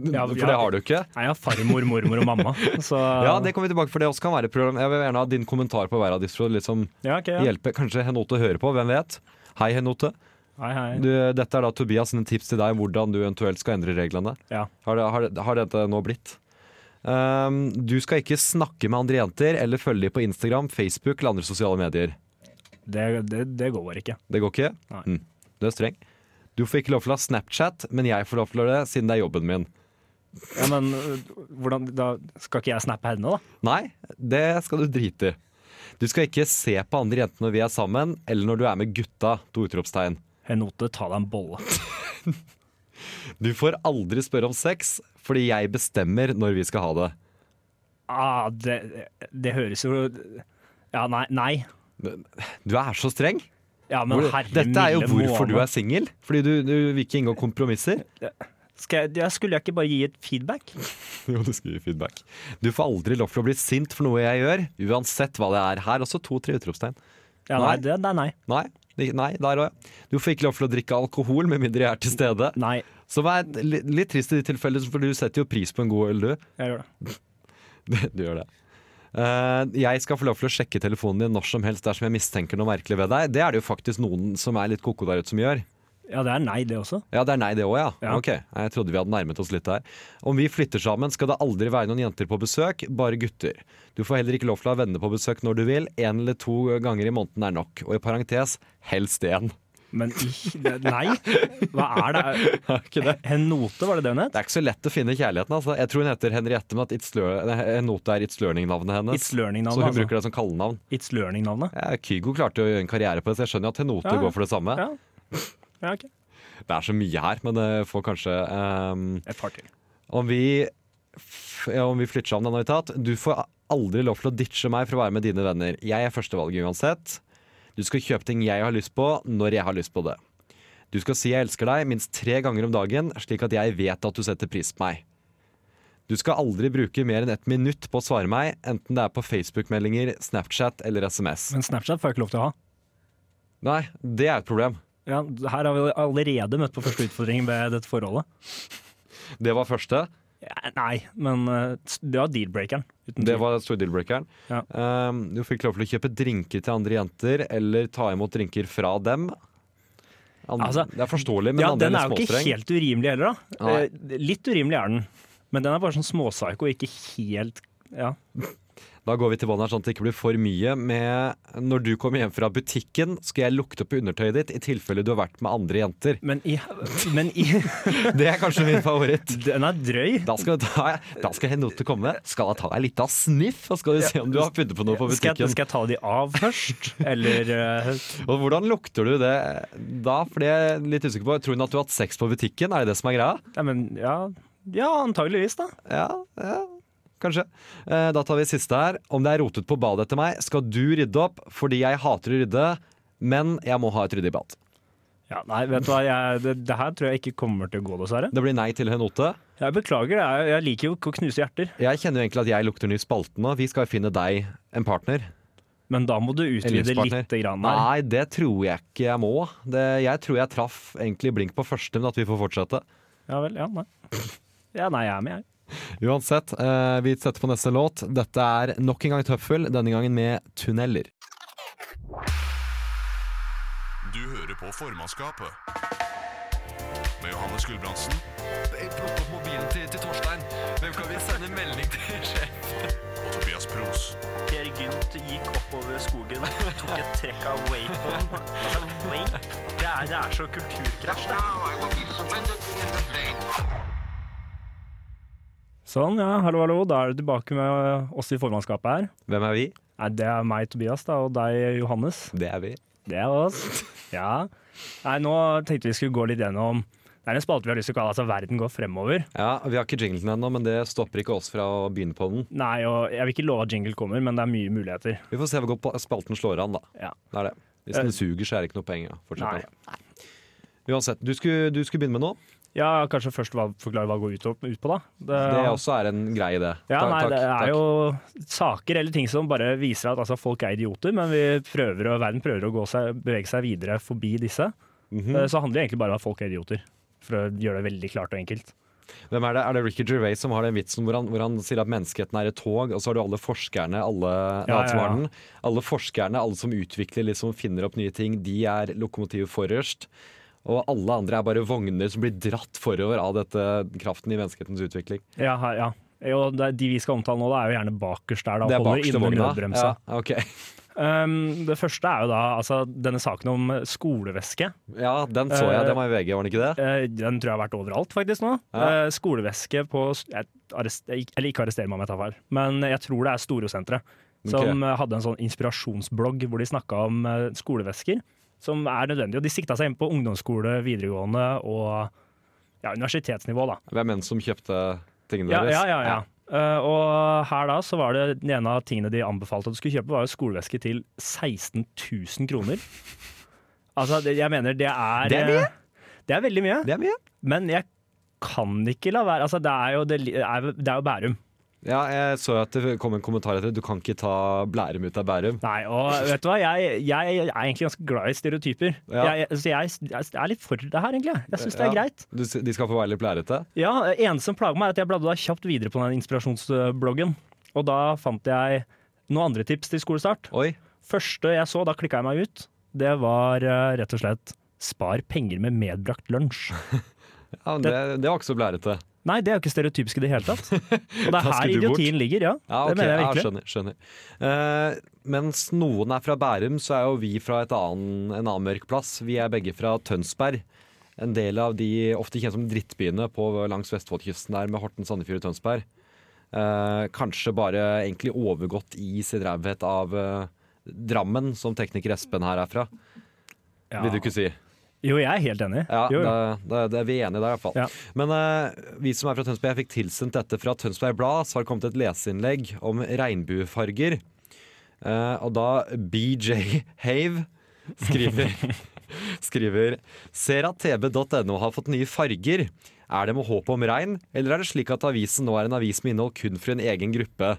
Ja,
for
ja.
det har du ikke.
Nei, jeg har farmor, mormor og mamma, så
Ja, det kommer vi tilbake for det også kan være et program. Jeg vil gjerne ha din kommentar på hver av disse for å liksom
Ja, ok, ja.
hjelpe kanskje Henote å høre på, hvem vet. Hei, Henote.
Hei, hei.
Du, dette er da Tobias sine tips til deg om hvordan du eventuelt skal endre reglene.
Ja.
Har, det- har, det- har dette nå blitt? Um, du skal ikke snakke med andre jenter eller følge dem på Instagram, Facebook eller andre sosiale medier.
Det, det, det går bare ikke.
Det går ikke?
Nei.
Mm. Du er streng. Du får ikke lov til å ha Snapchat, men jeg får lov til å gjøre det siden det er jobben min.
Ja, men øh, hvordan Da skal ikke jeg snappe henne, da?
Nei, det skal du drite i. Du skal ikke se på andre jenter når vi er sammen, eller når du er med gutta. To utropstegn.
Henote, ta deg en bolle.
Du får aldri spørre om sex, fordi jeg bestemmer når vi skal ha det.
Ah, det, det høres jo Det Ja, nei. nei.
Du er så streng.
Ja, men
Hvor,
herre
dette er jo
milde
hvorfor du
måne.
er singel. Fordi du, du vil ikke inngå kompromisser.
Skal jeg, jeg Skulle jeg ikke bare gi et feedback?
Jo, du skal gi feedback. Du får aldri lov til å bli sint for noe jeg gjør, uansett hva det er. Her også to-tre utropstegn.
Ja,
Nei.
nei, det, det er nei.
Nei. det- Nei, der òg. Du får ikke lov til å drikke alkohol med mindre jeg er til stede.
Nei,
Som er li- litt trist i de tilfellene, for du setter jo pris på en god øl, du.
jeg gjør det.
Du gjør det. Eh, jeg skal få lov til å sjekke telefonen din når som helst dersom jeg mistenker noe merkelig ved deg. Det er det jo faktisk noen som er litt koko der ute som gjør.
Ja, det er nei, det også.
Ja, det er nei, det òg, ja.
Ja.
Ok, Jeg trodde vi hadde nærmet oss litt der. Om vi flytter sammen, skal det aldri være noen jenter på besøk, bare gutter. Du får heller ikke lov til å ha venner på besøk når du vil. Én eller to ganger i måneden er nok. Og i parentes helst én.
Men i- det, nei. Hva er det?
Er ikke det?
En note, var det det hun het?
Det er ikke så lett å finne kjærligheten. altså. Jeg tror hun heter Henriette, men at It's Lear- nei, en note er It's Learning-navnet hennes.
It's Learning-navnet,
så hun
altså.
bruker det som kallenavn.
It's Learning-navnet.
Ja, Kygo klarte jo å gjøre en karriere på det, så jeg skjønner jo at Henote
Ja, ja.
går for det samme.
Ja. ja, ok.
Det er så mye her, men det får kanskje ehm,
Et par til.
om, vi, f- ja, om vi flytter sammen, denne tatt. Du får aldri lov til å ditche meg for å være med dine venner. Jeg er førstevalget uansett. Du skal kjøpe ting jeg har lyst på, når jeg har lyst på det. Du skal si jeg elsker deg minst tre ganger om dagen, slik at jeg vet at du setter pris på meg. Du skal aldri bruke mer enn ett minutt på å svare meg, enten det er på Facebook-meldinger, Snapchat eller SMS.
Men Snapchat får jeg ikke lov til å ha.
Nei, det er et problem.
Ja, her har vi allerede møtt på første utfordring ved dette forholdet.
Det var første.
Ja, nei, men eh, det var deal-breakeren. uten tvil.
Det var store deal-breakeren.
Mm. Ja.
Um, du fikk lov til å kjøpe drinker til andre jenter, eller ta imot drinker fra dem. And
Altså,
det er forståelig, men
ja,
andre
den
er
er jo
litt
ikke
småstreng.
helt urimelig heller, da.
Nei.
Eh, Litt urimelig er den, men den er bare sånn småpsyko, ikke helt ja.
Da går vi til bånn her, sånn at det ikke blir for mye med Når du kommer hjem fra butikken, skal jeg lukte på undertøyet ditt i tilfelle du har vært med andre jenter.
Men i, men i
Det er kanskje min favoritt.
Den er drøy.
Da skal, da, da skal Henote komme. Skal jeg ta deg litt av sniff, og skal du se om du har funnet på noe på
Skal jeg,
butikken?
skal jeg ta de av først, eller eh,
Og hvordan lukter du det da? For det er jeg litt usikker på. Tror hun at du har hatt sex på butikken? Er det det som er greia?
Nei, men ja, ja, antageligvis, da.
Ja, ja kanskje. Eh, Da tar vi siste her. Om det er rotet på badet etter meg, skal du rydde opp fordi jeg hater å rydde, men jeg må ha et ryddig bad.
Ja, nei, vet du hva, jeg, det, det her tror jeg ikke kommer til å gå, dessverre.
Det blir nei til Henote.
Jeg beklager, jeg, jeg liker jo ikke å knuse hjerter,
Jeg kjenner jo egentlig at jeg lukter ny spalte nå. Vi skal finne deg en partner.
men da må du
En
utvide
livspartner.
lite grann her.
Nei, det tror jeg ikke jeg må. Det, jeg tror jeg traff egentlig blink på første, men at vi får fortsette.
Ja vel, ja, nei. Ja, nei, jeg er med, jeg.
Uansett, eh, vi setter på neste låt. Dette er nok en gang Tøffel, denne gangen med Tunneler.
Du hører på formannskapet. Med Johannes Gulbrandsen
Plukk opp mobilen til, til Torstein. Hvem kan vi sende melding til sjef?
og Tobias Pros.
Per Gynt gikk oppover skogen, tok et trekk av Waypon. Altså, Wayp, det er, det er så kulturkrasj, det.
Sånn, ja, hallo, hallo. Da er du tilbake med oss i formannskapet her.
Hvem er vi?
Nei, det er meg, Tobias, da, og deg, Johannes.
Det er vi.
Det er oss. Ja. Nei, nå tenkte vi skulle gå litt gjennom Det er en spalte vi har lyst til å kalle altså Verden går fremover.
Ja, Vi har ikke jinglen ennå, men det stopper ikke oss fra å begynne på den.
Nei, og jeg vil ikke love at jingle kommer, men det er mye muligheter.
Vi får se hvor godt spalten slår an, da.
Ja. Eh.
Det er det. Hvis den suger, så er det ikke noe poeng. Ja. Fortsett
Nei.
med det. Uansett, du skulle, du skulle begynne med noe.
ja, kanskje først hva- forklare hva går ut, opp- ut på, da.
Det også er en grei idé.
ja,
Takk,
nei,
takk,
det er
takk.
jo saker eller ting som bare viser at altså, folk er idioter, men vi prøver, å- verden prøver å gå seg, bevege seg videre forbi disse.
Mhm.
Eh, Så handler det egentlig bare om at folk er idioter, for å gjøre det veldig klart og enkelt.
Hvem er det? Er det Ricky Gervais som har den vitsen hvor han, hvor han sier at menneskeheten er et tog, og så har du alle forskerne, alle,
Ja,
alle som
ja,
har
ja.
den. Alle forskerne, alle som utvikler, liksom finner opp nye ting, de er lokomotivet forrest. Og alle andre er bare vogner som blir dratt forover av dette kraften i menneskehetens utvikling.
Ja, her- ja. Jo, det, er- de vi skal omtale nå, da, er jo gjerne bakerst der. Da, og
det er
holder
bakste
inne
vogna.
nødbremsa.
Ja, ok.
Um, det første er jo da altså, denne saken om skoleveske.
ja, den så jeg. Den var i VG, var den ikke det?
Eh, den tror jeg har vært overalt faktisk nå.
Ja.
Eh, skoleveske på jeg arrest, Eller ikke arrester meg om jeg tar feil, men jeg tror det er Storosenteret. Som
Ok.
eh, hadde en sånn inspirasjonsblogg hvor de snakka om eh, skolevesker som er nødvendige. Og de sikta seg inn på ungdomsskole, videregående og ja, universitetsnivå, da.
Hvem enn som kjøpte tingene
Ja,
deres?
ja, ja, ja. Eh, og her da så var det den ene av tingene de anbefalte at du skulle kjøpe, var jo skoleveske til 16 000 kroner. Altså, det, jeg mener det er
Det er mye.
eh, Det er veldig mye.
Det er mye.
Men jeg kan ikke la være. Altså, det er jo, det, li- er, det er jo Bærum.
Ja, jeg så at det kom en kommentar etter. Du kan ikke ta Blærum ut av Bærum.
Nei, og vet du hva? Jeg, jeg er egentlig ganske glad i stereotyper.
Ja.
Jeg, så jeg, jeg er litt for det her, egentlig. Jeg syns det er
Ja.
greit.
Du, de skal få være litt blærete?
Ja, eneste som plager meg er at jeg bladde da kjapt videre på den inspirasjonsbloggen. Og da fant jeg noen andre tips til skolestart.
Oi.
Første jeg så, da klikka jeg meg ut, det var eh, rett og slett spar penger med medbrakt lunsj.
Ja, men det, det var ikke så blærete.
Nei, det er jo ikke stereotypisk i det hele tatt. Og det er
Da
her
skulle du bort.
idiotien ligger, ja.
Ja, ok,
Det mener jeg
ja,
virkelig.
skjønner. skjønner. Eh, mens noen er fra Bærum, så er jo vi fra et annen, en annen mørk plass. Vi er begge fra Tønsberg. En del av de ofte kjent som drittbyene på langs Vestfoldkysten der med Horten, Sandefjord og Tønsberg. Eh, kanskje bare egentlig overgått i sin raushet av eh, Drammen, som tekniker Espen her er fra,
Ja.
vil du ikke si.
Jo, jeg er helt enig.
Ja,
jo, jo.
Da, da, da er vi enige der i hvert fall.
Ja.
Men eh, vi som er fra Tønsberg, jeg fikk tilsendt dette fra Tønsberg Blad, så har det kommet et leseinnlegg om regnbuefarger. Eh, og da BJ Have skriver, skriver Ser at tb.no har fått nye farger. Er det med håp om regn, eller er det slik at avisen nå er en avis med innhold kun for en egen gruppe?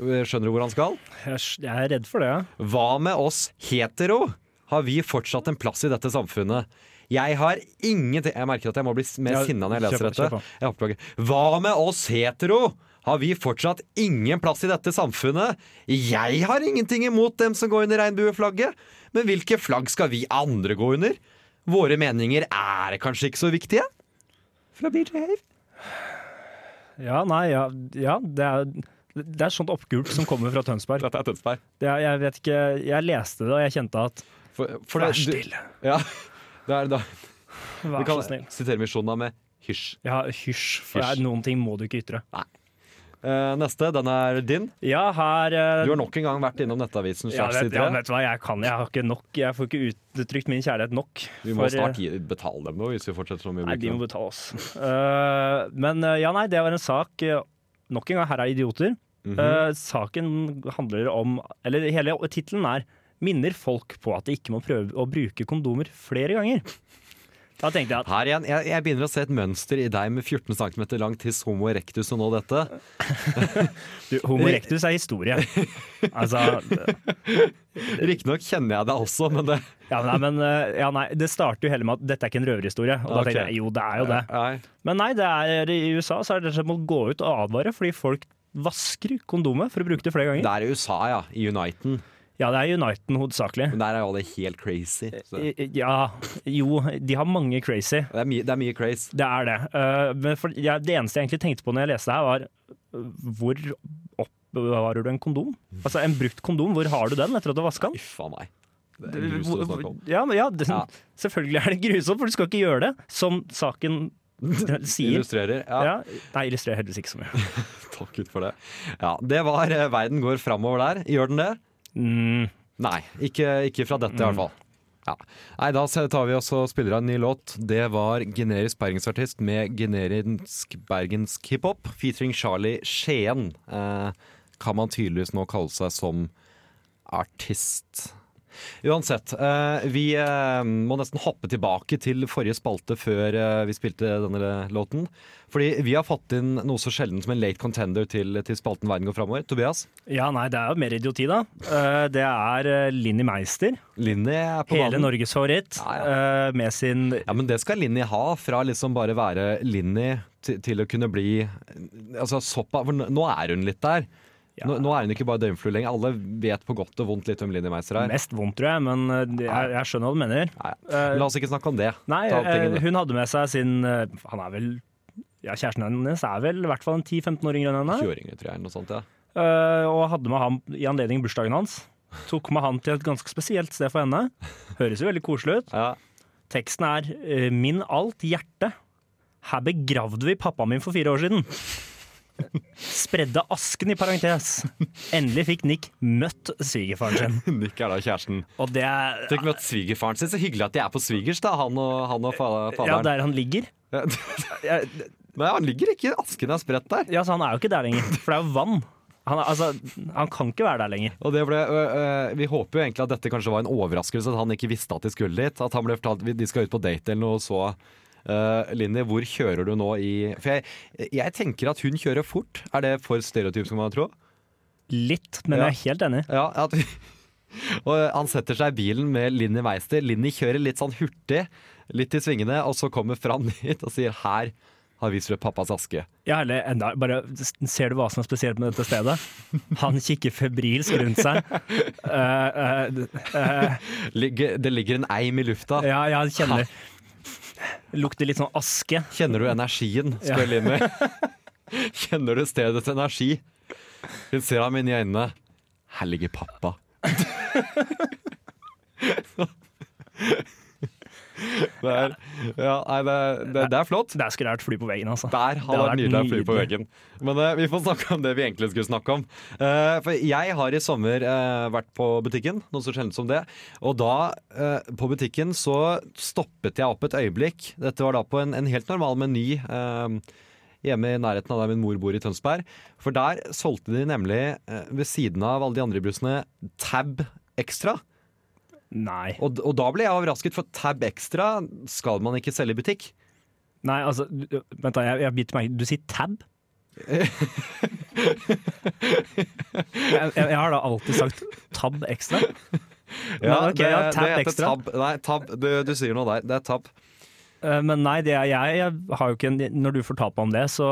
Eh, Skjønner du hvor han skal?
Jeg, s- jeg er redd for det, ja.
Hva med oss hetero? Har vi fortsatt en plass i dette samfunnet? Jeg har ingenting Jeg merker at jeg må bli mer
Ja,
sinna når jeg
kjør
leser
på, kjør
dette.
på.
Jeg oppdager. Hva med oss hetero? Har vi fortsatt ingen plass i dette samfunnet? Jeg har ingenting imot dem som går under regnbueflagget, men hvilke flagg skal vi andre gå under? Våre meninger er kanskje ikke så viktige? Fra BJ Have.
Ja, nei, ja, ja det er det er sånt oppgulp som kommer fra Tønsberg.
Dette er Tønsberg.
Det er, jeg vet ikke, jeg leste det, og jeg kjente at
For, for
Vær
det- du-
stille,
Ja, det er, da,
vær
vi kan
så snill.
sitere Misjona med hysj.
Ja, hysj, for det
Hysj.
er noen ting må du ikke ytre.
Eh, neste, den er din.
Ja, her eh,
Du har nok en gang vært innom Nettavisen.
ja,
slags
vet, ja,
side.
vet du hva, jeg kan Jeg har ikke nok. Jeg får ikke uttrykt min kjærlighet nok.
vi må
for, eh,
snart gi, betale dem noe hvis vi fortsetter sånn. vi
Nei, de
bruker
må
dem.
betale oss. Eh, men eh, ja, nei, det var en sak eh, Nok en gang, her er idioter. Eh, saken handler om Eller hele tittelen er 'Minner folk på at de ikke må prøve å bruke kondomer flere ganger'. Da tenkte jeg at
Her igjen, jeg, jeg begynner å se et mønster i deg med 14 cm lang tiss, homo erectus og nå dette.
du, homo erectus er historie. Altså
Riktignok kjenner jeg deg også, men det
ja, nei, men eh, ja, nei, det starter jo heller med at dette er ikke en røverhistorie. Og da
Ok.
tenkte jeg jo, det er jo det.
Nei.
Men nei, det er, i USA så er det rett og slett å gå ut og advare fordi folk vasker kondomet for å bruke det flere ganger.
Det er i USA, ja. I Uniten.
Ja, det er Uniten hovedsakelig.
Men der er jo alle helt crazy. Så.
I- i- Ja, jo, de har mange crazy.
Det, er mye, det er mye crazy.
Det er det. Eh, men for, ja, det eneste jeg egentlig tenkte på når jeg leste det her, var eh, hvor oppbevarer du en kondom? Altså en brukt kondom, hvor har du den etter at du har vaska den?
Uff a meg. Det er grusomt å snakke om.
Ja, men ja, det,
Ja.
Selvfølgelig er det grusomt, for du skal ikke gjøre det, som saken sier.
Illustrerer. Ja,
Ja. Nei, illustrerer heldigvis ikke så mye.
Takk Gud for det. Ja, det var eh, Verden går framover der. Gjør den det?
Mm,
Nei, ikke, ikke fra dette i hvert fall. Ja. Nei, da se- tar vi oss og spiller av en ny låt. Det var generisk bergensartist med generisk bergensk hiphop featuring Charlie Skien. Eh, kan man tydeligvis nå kalle seg som artist. Uansett, eh, vi eh, må nesten hoppe tilbake til forrige spalte før eh, vi spilte denne låten. Fordi vi har fått inn noe så sjelden som en late contender til, til spalten Verden går framover. Tobias,
ja, nei, det er jo mer idioti, da. Eh, det er eh, Linni Meister,
Linni er på
hele
banen.
Norges favoritt,
Ja,
eh, med sin
Ja, men det skal Linni ha, fra liksom bare være Linni til, til å kunne bli altså, såpass, For nå- nå er hun litt der. Nå, nå er hun ikke bare døgnflue lenger. Alle vet på godt og vondt litt om Linni Meiser er.
Mest vondt, tror jeg, men eh, det- jeg, jeg skjønner hva du mener.
Nei, La oss ikke snakke om det.
Nei,
Ta opp
eh,
tingene.
hun hadde med seg sin eh, Han er vel ja, Kjæresten hennes er vel i hvert fall en 10-15 år yngre enn henne.
20-åringer, tror jeg. Noe sånt, ja.
eh, Og hadde med ham i anledning bursdagen hans. Tok med han til et ganske spesielt sted for henne. Høres jo veldig koselig ut.
ja.
Teksten er eh, 'Min alt hjerte'. Her begravde vi pappaen min for fire år siden. Spredde asken i parentes. Endelig fikk Nick møtt svigerfaren sin.
Nick er da kjæresten.
Og det er
Fikk møtt svigerfaren sin. Så hyggelig at de er på svigers, da, han og, han og fa-
Ja,
faderen.
der han ligger. Jeg,
Nei, han ligger ikke i asken er spredt der.
Ja, så han er jo ikke der lenger, for det er jo vann. Han, er- altså, han kan ikke være der lenger.
Og det ble, øh, øh, vi håper jo egentlig at dette kanskje var en overraskelse, at han ikke visste at de skulle dit. At han ble fortalt at de skal ut på date eller noe, og så øh, Linni, hvor kjører du nå i For jeg, jeg tenker at hun kjører fort. Er det for stereotyp, skal man tro?
Litt, men jeg
Ja.
er helt enig.
Ja, at vi, og eh, han setter seg i bilen med Linni Meister. Linni kjører litt sånn hurtig, litt i svingene, og så kommer Fran hit og sier 'her har vi strødd pappas aske'.
Ja, eller enda, bare, ser du hva som er spesielt med dette stedet? Han kikker febrilsk rundt seg. Eh, eh, eh,
Ligger, det ligger en eim i lufta.
ja, jeg kjenner Lukter litt sånn aske.
Kjenner du energien, spør Linni. Kjenner du stedets energi? Hun ser ham inn i øynene. Her ligger pappa. Det er, ja, nei, det, det, det er flott.
Der skulle det vært fly på veggen, altså.
Der
Det
hadde
hadde
vært
vært
nydelig å fly på
nydelig.
veggen. Men eh, vi får snakke om det vi egentlig skulle snakke om. Eh, for jeg har i sommer eh, vært på butikken, noe så sjeldent som det. Og da, eh, på butikken, så stoppet jeg opp et øyeblikk. Dette var da på en, en helt normal meny eh, hjemme i nærheten av der min mor bor i Tønsberg. For der solgte de nemlig, eh, ved siden av alle de andre brusene, Tab Extra.
Nei.
Og, og da ble jeg overrasket, for Tab Extra skal man ikke selge i butikk.
Nei, altså, du- vent da, jeg, jeg biter meg Du sier tab? jeg, jeg, jeg har da alltid sagt tab ekstra. Men ok, ja, tab
heter
extra.
Tab. Nei, tab. Du, du sier noe der. Det er tab.
Eh, Men nei, det er, jeg, jeg har jo ikke en, Når du fortalte meg om det, så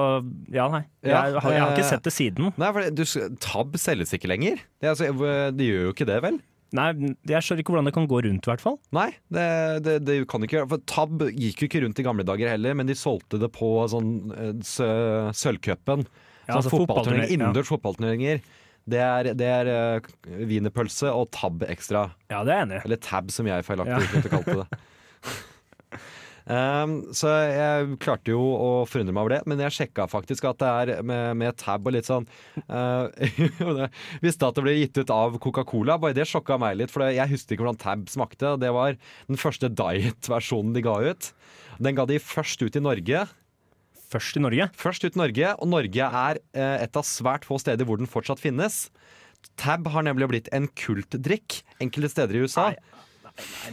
ja, nei. Jeg,
Ja,
har, jeg har
eh,
ikke sett det siden.
Nei, for det- du, s- tab selges ikke lenger. Det, er altså, de gjør jo ikke det, vel?
Nei, Jeg skjønner ikke hvordan det kan gå rundt, i hvert fall.
Nei, det, det, det kan de ikke gjøre. For tab gikk jo ikke rundt i gamle dager heller, men de solgte det på sånn eh, sø, Sølvcupen.
Ja,
sånn
altså
fotballturnering,
fotballturnering, ja.
innendørs fotballturneringer. Det er, det er eh, wienerpølse og tab ekstra.
Ja, det er jeg enig i.
Eller tab, som jeg feilaktig
Ja.
utnyttet kalte det. Um, så jeg klarte jo å forundre meg over det, men jeg sjekka faktisk at det er med, med tab og litt sånn uh, det- Visste at det ble gitt ut av Coca-Cola, bare det sjokka meg litt. For det- jeg husker ikke hvordan tab smakte. og Det var den første diet-versjonen de ga ut. Den ga de først ut i Norge.
Først i Norge.
Først ut Norge, og Norge er eh, et av svært få steder hvor den fortsatt finnes. Tab har nemlig blitt en kultdrikk enkelte steder i USA.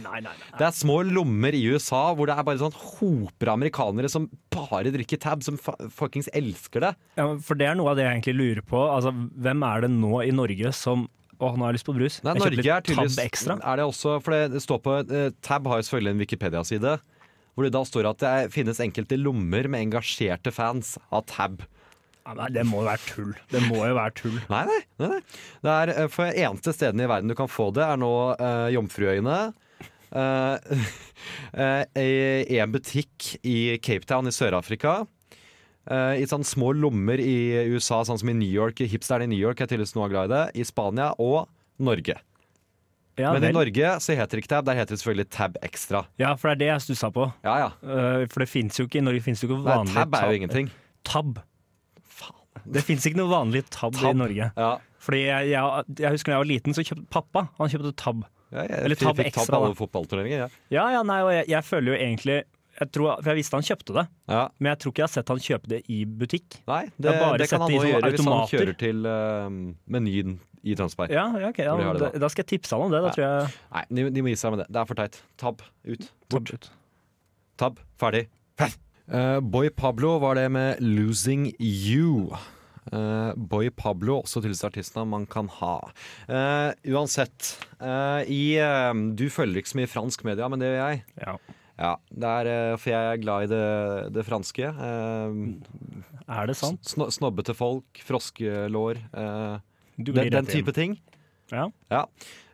Nei, nei, nei.
Det er små lommer i USA hvor det er bare sånn hoper av amerikanere som bare drikker tab, som fa- fuckings elsker det.
Ja, men for det er noe av det jeg egentlig lurer på. Altså, Hvem er det nå i Norge som Å, nå har jeg lyst på brus.
Nei,
Jeg kjøper
Norge er
litt
tydeligvis
Tab ekstra.
er det også, for det- det står på, eh, Tab har jo selvfølgelig en Wikipedia-side, hvor det da står at det er, finnes enkelte lommer med engasjerte fans av tab.
Ja, nei, det må jo være tull. Det må jo være tull.
Nei, nei. nei, nei. Det er eh, For eneste stedene i verden du kan få det, er nå eh, Jomfruøyene. eh, eh, I en butikk i Cape Town i Sør-Afrika. eh, I sånne små lommer i USA, sånn som i New York. Hipsteren i New York er tydeligvis noe glad i det. I Spania og Norge.
Ja,
Men i
vel.
Norge så heter det ikke Tab, der heter det selvfølgelig Tab Extra.
ja, for det er det jeg stussa på.
Ja, ja.
Eh, for det fins jo ikke i Norge finnes jo ikke
Nei,
vanlig
tab er jo ingenting.
Tab. Det fins ikke noe vanlig tab,
Tab.
i Norge.
Ja.
Fordi jeg, jeg, jeg husker da jeg var liten, så kjøpte pappa Han kjøpte tab.
Ja, jeg,
Eller Tab
fikk
Extra,
på alle
da.
fotballturneringer. Ja.
Ja, ja, nei, og jeg, jeg føler jo egentlig jeg tror, For jeg visste han kjøpte det,
Ja.
men jeg tror ikke jeg har sett han kjøpe det i butikk.
Nei, det,
Jeg har bare
det kan
sett
han
det i
nå
sånne
gjøre hvis han
automater.
kjører til eh, menyen i Tønsberg.
Ja, ja, ok, ja,
Hvor de har det
da,
da.
da skal jeg tipse han om det. Da
Ja.
tror jeg
Nei, de, de må gi seg med det. Det er for teit. Tab. Ut.
Bort.
Tab. Ferdig. Eh, Boy Pablo var det med 'Losing You'. Eh, Boy Pablo, også til disse artistene man kan ha. Eh, uansett. eh, i, eh, du følger ikke så mye fransk media, men det gjør jeg.
Ja.
Ja, det er, eh, For jeg er glad i det, det franske. Eh,
Er det sant?
sno, snobbete folk, froskelår. Eh,
Du
den,
glir
den
rett inn.
type ting.
Ja.
Ja.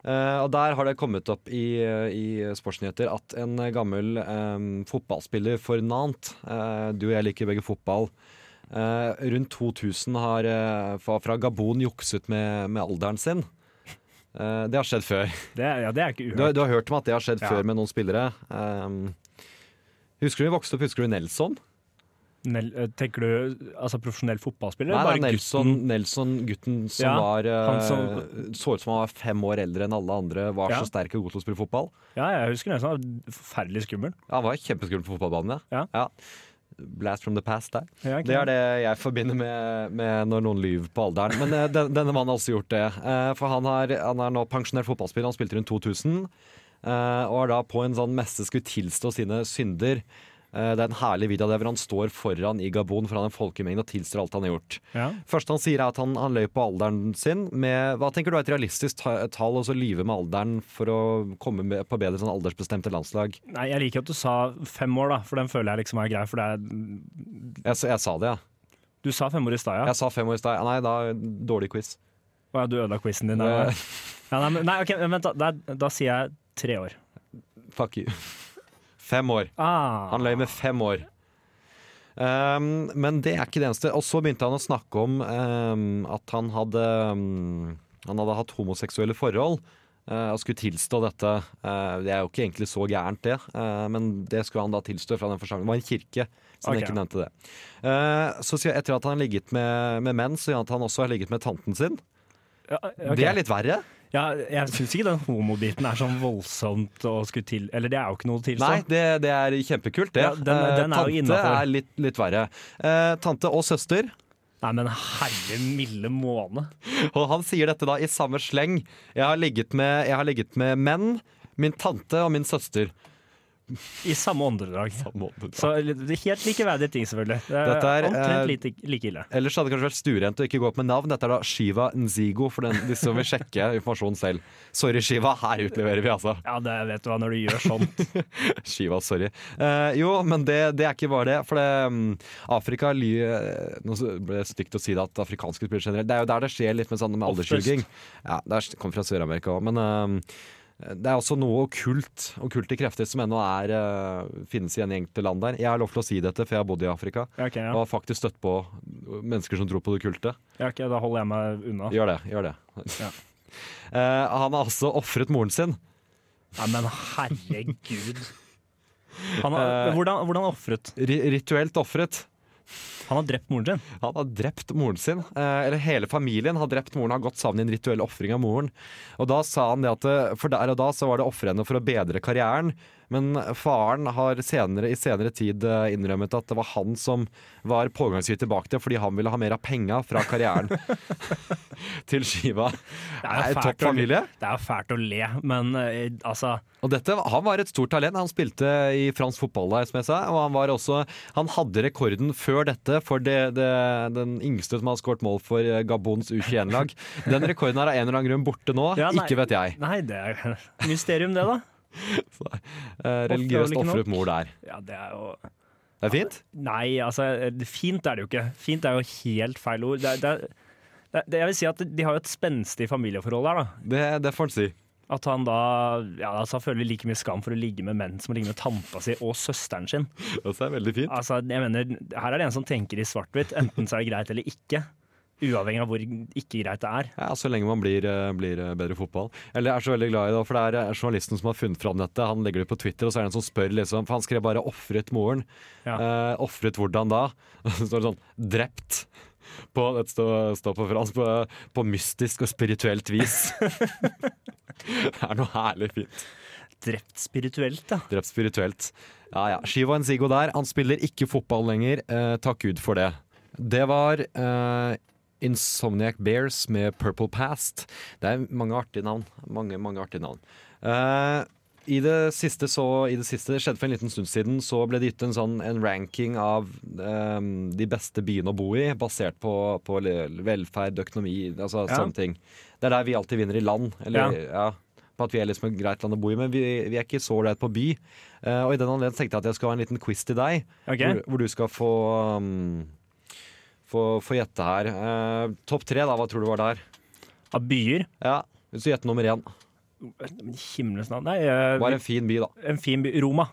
Eh, og der har det kommet opp i, eh, i Sportsnyheter at en gammel eh, fotballspiller for Nant eh, Du og jeg liker begge fotball. eh, rundt 2000 har eh, fra, fra Gabon jukset med, med alderen sin. Eh, det har skjedd før.
Det, er- ja, det er ikke
Du, har-
uhørt.
du har hørt om at det har skjedd
Ja.
før med noen spillere. Eh, husker du vi vokste opp? Husker du Nelson?
Nel, eh, tenker du altså profesjonell fotballspiller?
Nei,
Bare
det er Nelson,
gutten?
Nelson, gutten som
Ja,
var eh,
han som-
Så ut som han var fem år eldre enn alle andre, var
Ja.
så sterk og god til å spille fotball.
Ja, jeg husker Nelson. Han var Forferdelig skummel.
Ja, Han var kjempeskummel på fotballbanen, ja.
Ja.
Blast from the past der.
Ja, ikke
Det er
sant?
det jeg forbinder med, med når noen lyver på alderen. Men eh, den, denne mannen har også gjort det. Eh, for han, har, han er nå pensjonert fotballspiller, han spilte rundt 2000. eh, og er da på en sånn messe skulle tilstå sine synder. Eh, det er en herlig video av det hvor han står foran i Gabon foran en folkemengde og tilstår alt han har gjort.
Ja.
Første han sier er at han, han løy på alderen sin med Hva tenker du er et realistisk ta- tall, og så lyve med alderen for å komme med, på bedre sånn aldersbestemte landslag?
Nei, jeg liker at du sa fem år, da, for den føler jeg liksom er grei. For det er,
Jeg, s- jeg sa det, ja.
du sa fem år i stad, ja.
Jeg sa fem år i stad. Nei, da dårlig quiz.
Å ja, du ødela quizen din. Ja. Ja, nei, men- nei, ok, men vent, da, da, da sier jeg tre år.
Fuck you. Fem år.
Ah,
Han løy med fem år. Ehm, men det er ikke det eneste. Og så begynte han å snakke om ehm, at han hadde ehm, Han hadde hatt homoseksuelle forhold. eh, og skulle tilstå dette. Eh, det er jo ikke egentlig så gærent, det. eh, men det skulle han da tilstå fra den forsamlingen. Det var en kirke. Så han
Ok.
ikke nevnte det. Eh, så sier jeg etter at han har ligget med, med menn, så sier han at han også har ligget med tanten sin.
ja, ok.
Det er litt verre.
ja, jeg syns ikke den homobiten er sånn voldsomt å skulle til Eller det er jo ikke noe til
Nei,
sånn.
det, det er kjempekult, det.
Ja, den- den
Eh,
er jo
tante
innenfor.
er litt, litt verre. Eh, tante og søster.
Nei, men herre milde måne.
Og han sier dette da i samme sleng. Jeg har ligget med, jeg har ligget med menn, min tante og min søster.
I samme åndedrag.
Ellers
Så litt- det er helt likeverdige ting, selvfølgelig. Det er,
Dette er, eh,
Omtrent like, like ille.
hadde det kanskje vært stuerent å ikke gå opp med navn. Dette er da Shiva Nzigo, for den, de som vil sjekke informasjonen selv. Sorry, Shiva. Her utleverer vi, altså.
Ja, det vet du hva, når du gjør sånt.
Shiva, sorry. Eh, jo, men det, det er ikke bare det. For det, mm, Afrika ly, eh, Nå så ble det stygt å si det at afrikanske spillere generelt Det er jo der det skjer litt med, sånn, med
Oftest.
alderssuging. Ja, det er- kommer fra Sør-Amerika òg. Men eh, det er også noe okkult, okkulte krefter som ennå er, eh, finnes i en enkelte land der. Jeg har lov til å si dette, for jeg har bodd i Afrika.
Ja, ok,
Og
ja.
har faktisk støtt på mennesker som tror på det okkulte.
Ja, ok, da holder jeg meg unna.
Gjør det. gjør det
Ja.
Eh, Han har altså ofret moren sin.
Nei, men herregud. Han har,
Eh,
hvordan hvordan ofret?
Ri rituelt ofret.
Han har drept moren sin.
Han har drept moren sin, eh, eller hele familien har drept moren, har gått sammen i en rituell ofring av moren. Og da sa han det at eh, for der og da så var det ofrene for å bedre karrieren, men faren har senere, i senere tid eh, innrømmet at det var han som var pågangshytter bak det, fordi han ville ha mer av penga fra karrieren til Shiva. Eh, Det
jo
er en
fælt
topp
å le-
familie.
Det er jo fælt å le, men eh, altså
Og dette, han var et stort talent. Han spilte i fransk fotball, der, som jeg sa. Og han, var også, han hadde rekorden før dette for det, det, den yngste som har skåret mål for eh, Gabons U21-lag. Den rekorden er av en eller annen grunn borte nå.
Ja, nei.
ikke vet jeg.
Nei, det er mysterium, det, da.
Eh, religiøst
ikke nok.
ofret mor der.
Ja, det er jo
Det er fint?
Nei, altså, fint er det jo ikke. Fint er jo helt feil ord. Det, er- det, er- det, er- jeg vil si at de har jo et spenstig familieforhold der, da.
Det, det får en si.
At han da ja, altså, han føler like mye skam for å ligge med menn som å ligge med tanta si og søsteren sin.
Det er veldig fint.
Altså, jeg mener, Her er det en som tenker i svart-hvitt. Enten så er det greit eller ikke. Uavhengig av hvor ikke greit det er.
Ja, Så lenge man blir, eh, blir eh, bedre i fotball. Eller jeg er så veldig glad i det, for det er eh, journalisten som har funnet fram dette. Han legger det på Twitter, og så er det en som spør, liksom. For han skrev bare 'ofret moren'.
Ja.
Eh, ofret hvordan da? Så står det sånn 'drept'. På, det står, står på fransk på, på mystisk og spirituelt vis. det er noe herlig fint.
Drept spirituelt, da.
Drept spirituelt. Ja ja. Shiva Nzigo der. Han spiller ikke fotball lenger. Eh, takk Gud for det. Det var eh, Insomniac Bears med Purple Past. Det er mange artige navn. Mange, mange artige navn. Eh, i det siste så i det siste, det skjedde for en liten stund siden, så ble det gitt en sånn en ranking av eh, de beste byene å bo i, basert på, på le- velferd, økonomi, altså
Ja.
sånne ting. Det er der vi alltid vinner i land. Eller, ja. på at vi er liksom et greit land å bo i, men vi, vi er ikke så ålreit på by. Eh, og i den anledning tenkte jeg at jeg skal ha en liten quiz til deg,
Ok.
hvor, hvor du skal få um, få, få gjette her. Eh, Topp tre, da. Hva tror du var der?
Av byer.
Ja, Hvis du gjetter nummer én.
Men i Himmelens navn. Nei, eh,
Var en fin by, da.
en fin by. Roma.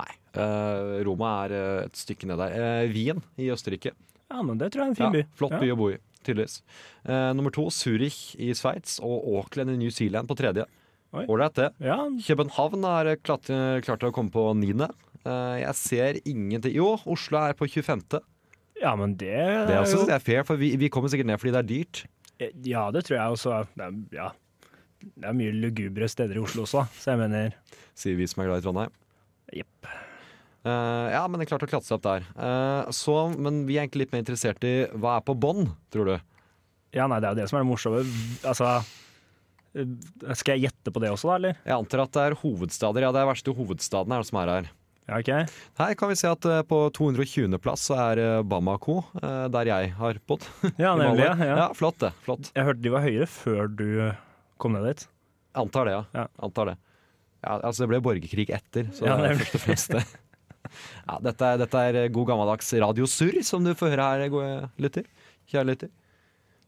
Nei. eh, Roma er eh, et stykke ned der. Eh, Wien i Østerrike.
Ja, men det tror jeg er en fin
Ja,
by.
Flott
Ja.
by å bo i. Tydeligvis. Eh, nummer to Zurich i Sveits og Auckland i New Zealand på tredje.
Oi.
Ålreit, det.
Ja,
København har klart, klart å komme på niende. Eh, jeg ser ingenting Jo, Oslo er på 25.
ja, men det,
Det er,
er
også,
jo
det er fair, for vi, vi kommer sikkert ned fordi det er dyrt.
Ja, det tror jeg også. er- Det er, ja. det er mye lugubre steder i Oslo også, så jeg mener
Sier vi som er glad i Trondheim.
Jepp.
Eh, Eh, ja, men det er klart å klatre seg opp der. Eh, så, men vi er egentlig litt mer interessert i hva er på bånn, tror du?
Ja, nei, det er jo det som er det morsomme. Altså, eh, skal jeg gjette på det også, da, eller?
Jeg antar at det er hovedstader. Ja, det er verste hovedstaden her som er her.
Ja, ok.
Her kan vi se at eh, på 220. plass så er eh, Bamako, eh, der jeg har bodd.
Ja,
i
nemlig.
Mali.
Ja.
ja, flott det. Flott.
Jeg hørte de var høyere før du kom ned dit.
Jeg Antar det, ja.
Ja.
Antar det. Ja, altså det ble borgerkrig etter, så
Ja,
det er
nemlig.
først og fremst det. Ja, dette, er, dette er god gammeldags radiosurr som du får høre her, gode lytter. Kjære lytter.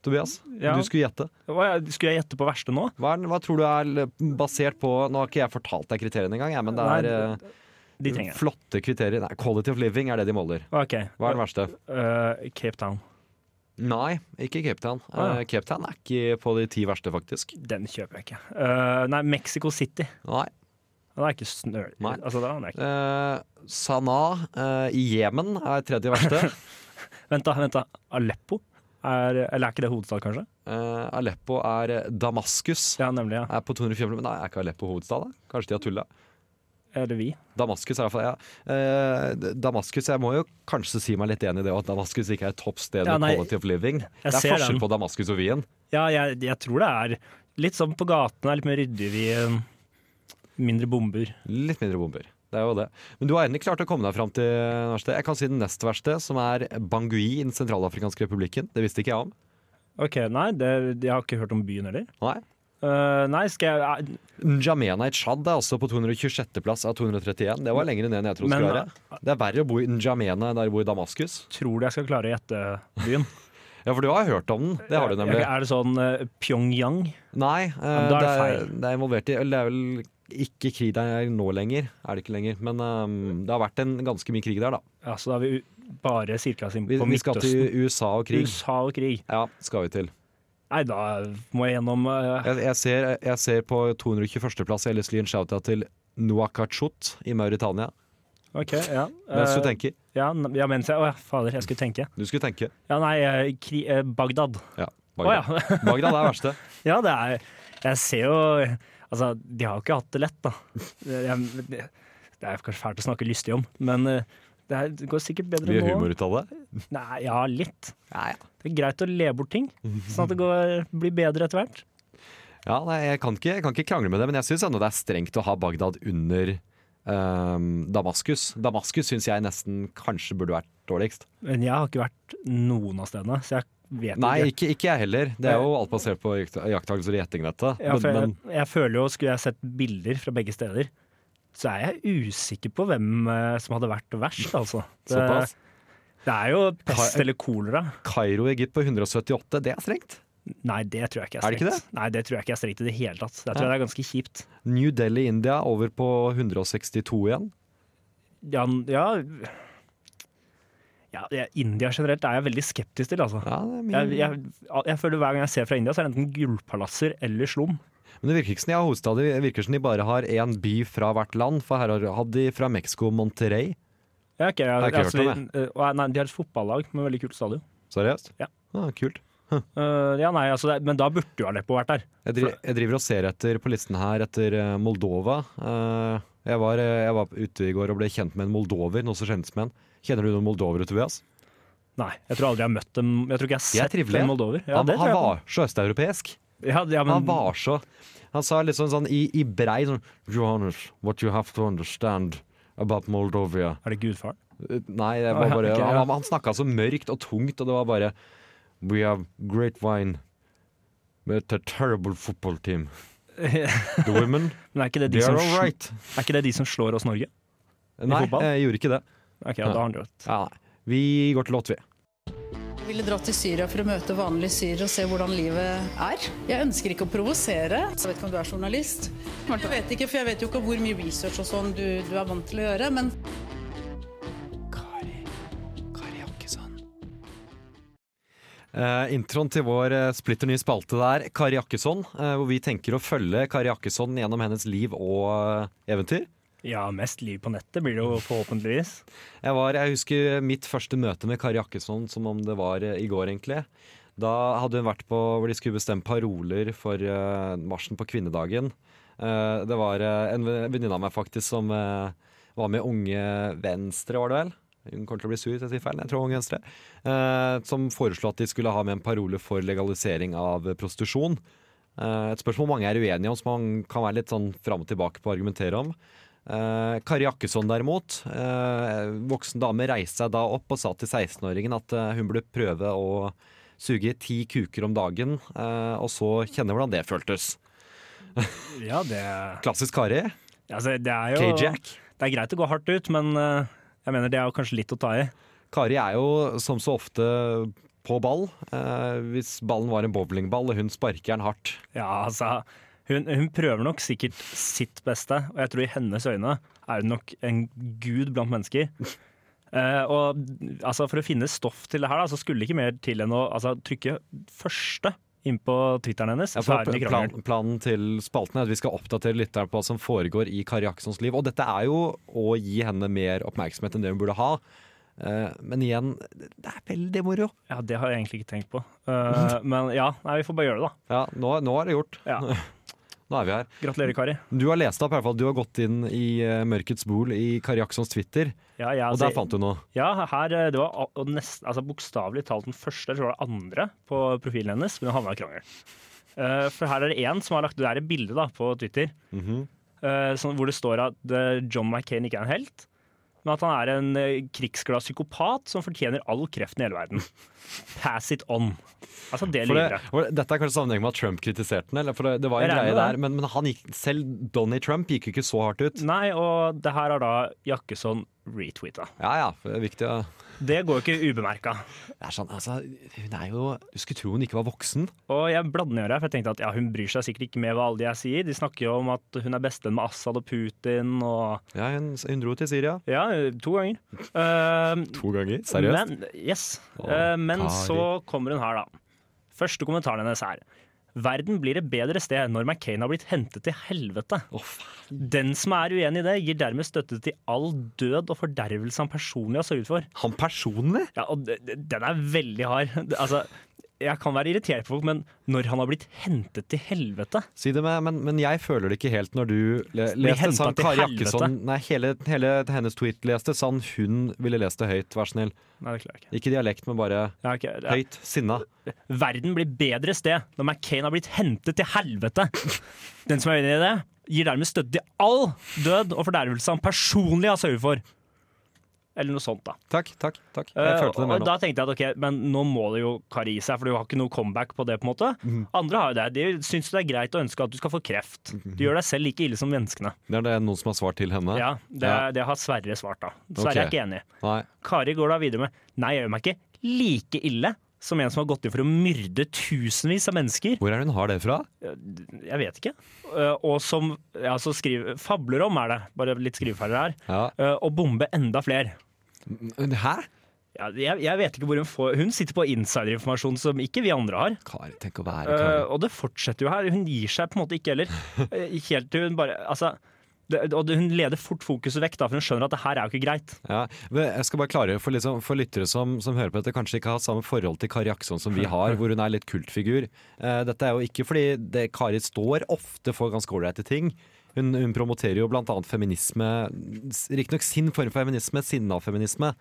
Tobias,
Ja.
du skulle gjette.
Hva- Skulle jeg gjette på verste nå?
Hva, er, den- hva tror du er l- basert på Nå har ikke jeg fortalt deg kriteriene engang, jeg, men det
Nei,
er
det- De
eh,
trenger jeg.
flotte kriterier. Nei, quality of living er det de måler.
Ok.
Hva er den verste?
Eh, Cape Town.
Nei, ikke Cape Town.
Ah, ja.
Eh, Cape Town er ikke på de ti verste, faktisk.
Den kjøper jeg ikke. Eh, nei, Mexico City.
Nei.
Den er ikke snø...
Nei.
Altså, den er ikke.
Eh, Sanaa eh, i Jemen er tredje verste.
Vent, da. vent da. Aleppo? Er, eller er ikke det hovedstad, kanskje?
Eh, Aleppo er Damaskus.
Ja, nemlig. ja.
Er på 250, men nei, er ikke Aleppo hovedstad? da? Kanskje de har tulla?
Eller vi.
Damaskus er iallfall ja. Eh, D- Damaskus, Jeg må jo kanskje si meg litt enig i det, og at Damaskus ikke er et topp sted
Ja,
med
nei,
quality of living. Det er
ser
forskjell
den.
på Damaskus og Wien.
Ja, jeg, jeg tror det er litt sånn på gatene, litt mer ryddig vi eh, Mindre bomber.
Litt mindre bomber. Det er jo det. Men du har endelig klart å komme deg fram til den verste. Jeg kan si den nest verste, som er Bangui i Den sentralafrikanske republikken. Det visste ikke jeg om.
OK, nei, det, jeg har ikke hørt om byen heller.
Nei.
Eh, nei, skal jeg eh,
N'Djamena i Tsjad er også på 226. plass av 231. Det var lenger ned enn jeg trodde det
Men- eh,
skulle være. Det er verre å bo i N'Djamena enn det er å bo i Damaskus.
Tror du jeg skal klare å gjette byen?
Ja, for du har hørt om den. Det har du nemlig.
Er det sånn eh, Pyongyang?
Nei, eh,
men da
det,
er det
er,
feil.
det er involvert i eller Det er vel ikke krig der nå lenger. Er det ikke lenger. Men eh, det har vært en ganske mye krig der, da.
Ja, så Altså, da er vi u- bare cirka inn
Vi,
på
vi skal
Midtøsten.
til USA og krig.
USA og krig.
Ja, skal vi til.
Nei, da må jeg gjennom eh,
Jeg, jeg, ser, jeg ser på 221.-plass jeg har lyst til å gi en shout-out til Nuakachot i Mauritania.
OK, ja.
Mens du
Eh,
tenker.
Ja, n- ja mens jeg Å ja, fader, jeg skulle tenke.
Du skulle tenke.
Ja, nei, eh, kri, eh, Bagdad.
Ja.
Å
Bagdad.
ja.
Bagdad er verste.
ja, det er Jeg ser jo Altså, de har jo ikke hatt det lett, da. Det- Jeg, det, det er kanskje fælt å snakke lystig om, men eh, det, er, det går sikkert bedre
Det gjør
nå.
humor ut av det.
Nei, ja, litt.
Ja, ja.
Det er greit å le bort ting, sånn at det går, blir bedre etter hvert.
Ja, nei, jeg, kan ikke, jeg kan ikke krangle med det, men jeg syns det er strengt å ha Bagdad under ehm, Damaskus. Damaskus syns jeg nesten kanskje burde vært dårligst.
Men jeg har ikke vært noen av stedene, så jeg vet
Nei,
ikke.
ikke, ikke jeg heller. Det er jo alt basert på jakt- jakttagelser og gjetting, dette.
Ja, for
men,
jeg, jeg føler jo, skulle jeg sett bilder fra begge steder, så er jeg usikker på hvem eh, som hadde vært verst, altså.
men såpass.
Det er jo pest eller kolera.
Kairo, Egypt på 178, det er strengt.
Nei, det tror jeg ikke er
Er det
strengt.
ikke
Nei, det tror jeg ikke er strengt i det hele tatt. Jeg tror
Ja.
det er ganske kjipt.
New Delhi, India, over på 162 igjen.
Ja, n- ja, ja, det- India generelt er jeg veldig skeptisk til, altså.
Ja, det er mye.
Jeg, jeg, jeg føler Hver gang jeg ser fra India, så er det enten gullpalasser eller slum.
Men det virker ikke som de har hovedstad. Det virker som de bare har én by fra hvert land. For her har- hadde de fra Mexico Monterrey.
Ja, ok, jeg,
har ikke hørt om
det. nei, de har et fotballag med veldig kult stadion.
Seriøst?
Ja.
Ah, kult.
Eh, ja, nei, altså, det, men da burde jo Aleppo vært der.
Jeg, dri jeg driver og ser etter på listen her etter eh, Moldova. Eh, jeg, var, eh, jeg var ute i går og ble kjent med en moldover, noe så kjentes med en. Kjenner du noen moldovere, Tobias?
Nei, jeg tror aldri jeg har møtt dem. Jeg tror ikke jeg
De er
har sett
trivelige.
dem Moldover. Ja,
han,
det tror
han
jeg på.
var så østeuropeisk.
ja, ja, men,
Han var så Han sa litt sånn, sånn i, i brei sånn Johannes, what you have to understand about Moldovia
Er det gudfaren?
Eh, Nei, det
Å,
var
ja,
bare
ok, ja.
Han, han snakka så mørkt og tungt, og det var bare We have great wine. But a terrible football team. The women,
Men er ikke, det de
they
som,
are all
sl-
right.
er ikke det de som slår oss Norge?
Nei,
fotball?
jeg gjorde ikke det.
Ok, ja, da har han rett.
Ja, nei. Vi går til låt, vi.
Jeg ville dra til Syria for å møte vanlige syrere og se hvordan livet er. Jeg ønsker ikke å provosere. Jeg vet ikke om du er journalist. Jeg vet ikke, for jeg vet jo ikke hvor mye research og sånn du, du er vant til å gjøre, men
Eh, introen til vår eh, splitter nye spalte der, Kari Jakkesson. Eh, hvor vi tenker å følge Kari Jakkesson gjennom hennes liv og eh, eventyr.
Ja, mest liv på nettet blir det jo forhåpentligvis.
Jeg, var, jeg husker mitt første møte med Kari Jakkesson som om det var eh, i går, egentlig. Da hadde hun vært på hvor de skulle bestemme paroler for eh, marsjen på kvinnedagen. Eh, det var eh, en ve- venninne av meg faktisk som eh, Var med Unge Venstre, var det vel? Hun kommer til å bli sur hvis jeg sier feil. Jeg tror Unge Venstre. Eh, som foreslo at de skulle ha med en parole for legalisering av prostitusjon. Eh, et spørsmål mange er uenige om, som man kan være litt sånn fram og tilbake på å argumentere om. Eh, Kari Jakkesson derimot, eh, voksen dame, reiste seg da opp og sa til 16-åringen at eh, hun burde prøve å suge ti kuker om dagen, eh, og så kjenne hvordan det føltes.
Ja, det,
Klassisk Kari.
altså, det er jo
K-Jack.
Det er greit å gå hardt ut, men eh, jeg mener det er jo kanskje litt å ta i.
Kari er jo som så ofte på ball. Eh, hvis ballen var en bowlingball, og hun sparker den hardt.
Ja, altså hun, hun prøver nok sikkert sitt beste, og jeg tror i hennes øyne er hun nok en gud blant mennesker. Eh, og altså, For å finne stoff til det her, da, så skulle det ikke mer til enn å altså, trykke første inn på Twitteren hennes.
Ja,
så
for
er hun i
plan,
krangel.
planen til spalten er at vi skal oppdatere lytteren på hva som foregår i Kari Jakkessons liv. Og dette er jo å gi henne mer oppmerksomhet enn det hun burde ha. Eh, Men igjen, det er veldig moro.
Ja, det har jeg egentlig ikke tenkt på. Eh, men ja, nei, vi får bare gjøre det,
Ja, nå, nå er det gjort.
da. Ja.
Nå er vi her.
Gratulerer, Kari.
Du har lest opp, i hvert fall. Du har gått inn i eh, Mørkets bol i Kari Jakkessons Twitter,
Ja, jeg,
og
altså,
der fant du noe.
Ja, her, eh, det var al- og nest, altså, bokstavelig talt den første, eller så var det andre, på profilen hennes, men hun havna i krangel. Eh, for her er det én som har lagt det er et bilde da, på Twitter
Mhm.
eh, sånn, hvor det står at eh, John McCain ikke er en helt, men at han er en eh, krigsglad psykopat som fortjener all kreften i hele verden. Pass it on. Altså, det
For
lyder
det,
jeg.
for det- dette er kanskje sammenheng med at Trump kritiserte den, eller? For det, det var en
Jeg
greie
regner med
der,
det.
men, men han gikk, selv Donny Trump gikk jo ikke så hardt ut.
Nei, og det her har da Jakkesson retweeta.
Ja ja, det er viktig å
Det går jo ikke ubemerka.
Det er sånn, altså, hun er jo Du skulle tro hun ikke var voksen.
Og jeg bladde ned i det, for jeg tenkte at ja, hun bryr seg sikkert ikke med hva alle de jeg sier. De snakker jo om at hun er bestevenn med Assad og Putin og
Ja, hun, hun dro til Syria.
Ja, to ganger. Eh,
To ganger?
Men, yes. Eh, men
Kari.
så kommer hun her, da. Første kommentaren hennes er Verden blir et bedre sted når McCain har blitt hentet til helvete. Den som er uenig i det, gir dermed støtte til all død og fordervelse han personlig har sørget for.
Han personlig?
Ja, og d- d- den er veldig hard. Det- Altså, jeg kan være irritert på folk, men når han har blitt hentet til helvete
Si det med, men, men jeg føler det ikke helt når du le, leste
hentet
sånn
til
Kari
helvete.
Jakkesson Nei, hele, hele hennes tweet leste sånn hun ville lest det høyt, vær så snill.
Nei, det klarer jeg ikke.
Ikke dialekt, men bare
Ja, ok, ja.
høyt. Sinna.
Verden blir bedre sted når McCain har blitt hentet til helvete. Den som er uenig i det, gir dermed støtte til all død og fordervelse han personlig har sørget for. Eller noe sånt, da.
Takk, takk, takk. Jeg
Eh,
følte det
og
mer nå.
da tenkte jeg at ok, men nå må det jo Kari i seg, for du har ikke noe comeback på det. på en måte.
Mhm.
Andre har jo det. De syns det er greit å ønske at du skal få kreft. Du gjør deg selv like ille som menneskene.
Det er det noen som har svart til henne?
Ja, det,
Mhm. Ja.
det har Sverre svart, da. Sverre
Ok.
er ikke enig.
Nei.
Kari går da videre med Nei, jeg gjør meg ikke like ille som en som har gått inn for å myrde tusenvis av mennesker.
Hvor er det hun har det fra?
Jeg vet ikke. Eh, Og som ja, så skriver, fabler om, er det. Bare litt skriveferdig her.
Ja.
Eh, Å bombe enda flere.
Hæ?
Ja, jeg, jeg vet ikke hvor hun får Hun sitter på insiderinformasjon som ikke vi andre har.
Kari, tenk å være
Eh,
Kari.
og det fortsetter jo her. Hun gir seg på en måte ikke heller. Eh, Helt til hun bare Altså. Det, og det- hun leder fort fokuset vekk, da, for hun skjønner at det her er jo ikke greit.
Ja, men jeg skal bare klare for, liksom, for lyttere som, som hører på dette, kanskje ikke har samme forhold til Kari Jakkesson som vi har, hvor hun er litt kultfigur. Eh, dette er jo ikke fordi det, Kari står ofte for ganske ålreite ting. Hun, hun promoterer jo bl.a. feminisme, s- riktignok sin form for feminisme, sinna feminisme.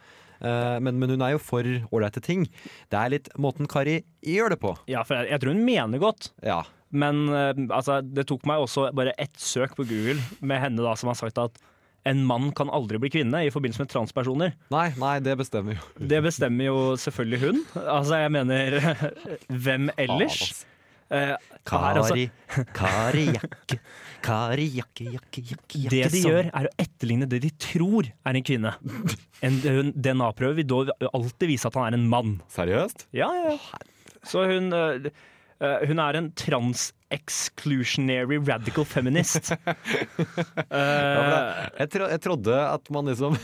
Eh, men, men hun er jo for ålreite ting. Det er litt måten Kari gjør det på.
Ja, for jeg, jeg tror hun mener godt,
Ja.
men eh, altså, det tok meg også bare ett søk på Google med henne da, som har sagt at en mann kan aldri bli kvinne i forbindelse med transpersoner.
Nei, nei, det bestemmer jo.
Det bestemmer jo selvfølgelig hun. Altså, jeg mener Hvem ellers? Eh, her, altså,
Kari, Kari Jakke, Kari Jakke, Jakke, Jakke, Jakke.
det de gjør, er å etterligne det de tror er en kvinne. En DNA-prøve vil da alltid vise at han er en mann.
Seriøst?
Ja, ja, ja. Så hun, eh, eh, hun er en trans-exclusionary radical feminist. Eh,
Jeg, tro, jeg trodde at man liksom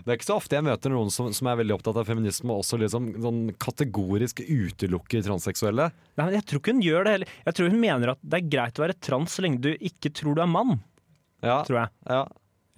Det er ikke så ofte jeg møter noen som, som er veldig opptatt av feminisme og også liksom sånn kategorisk utelukker transseksuelle.
nei, men jeg tror ikke hun gjør det heller. Jeg tror hun mener at det er greit å være trans så lenge du ikke tror du er mann.
Ja,
tror Jeg
ja.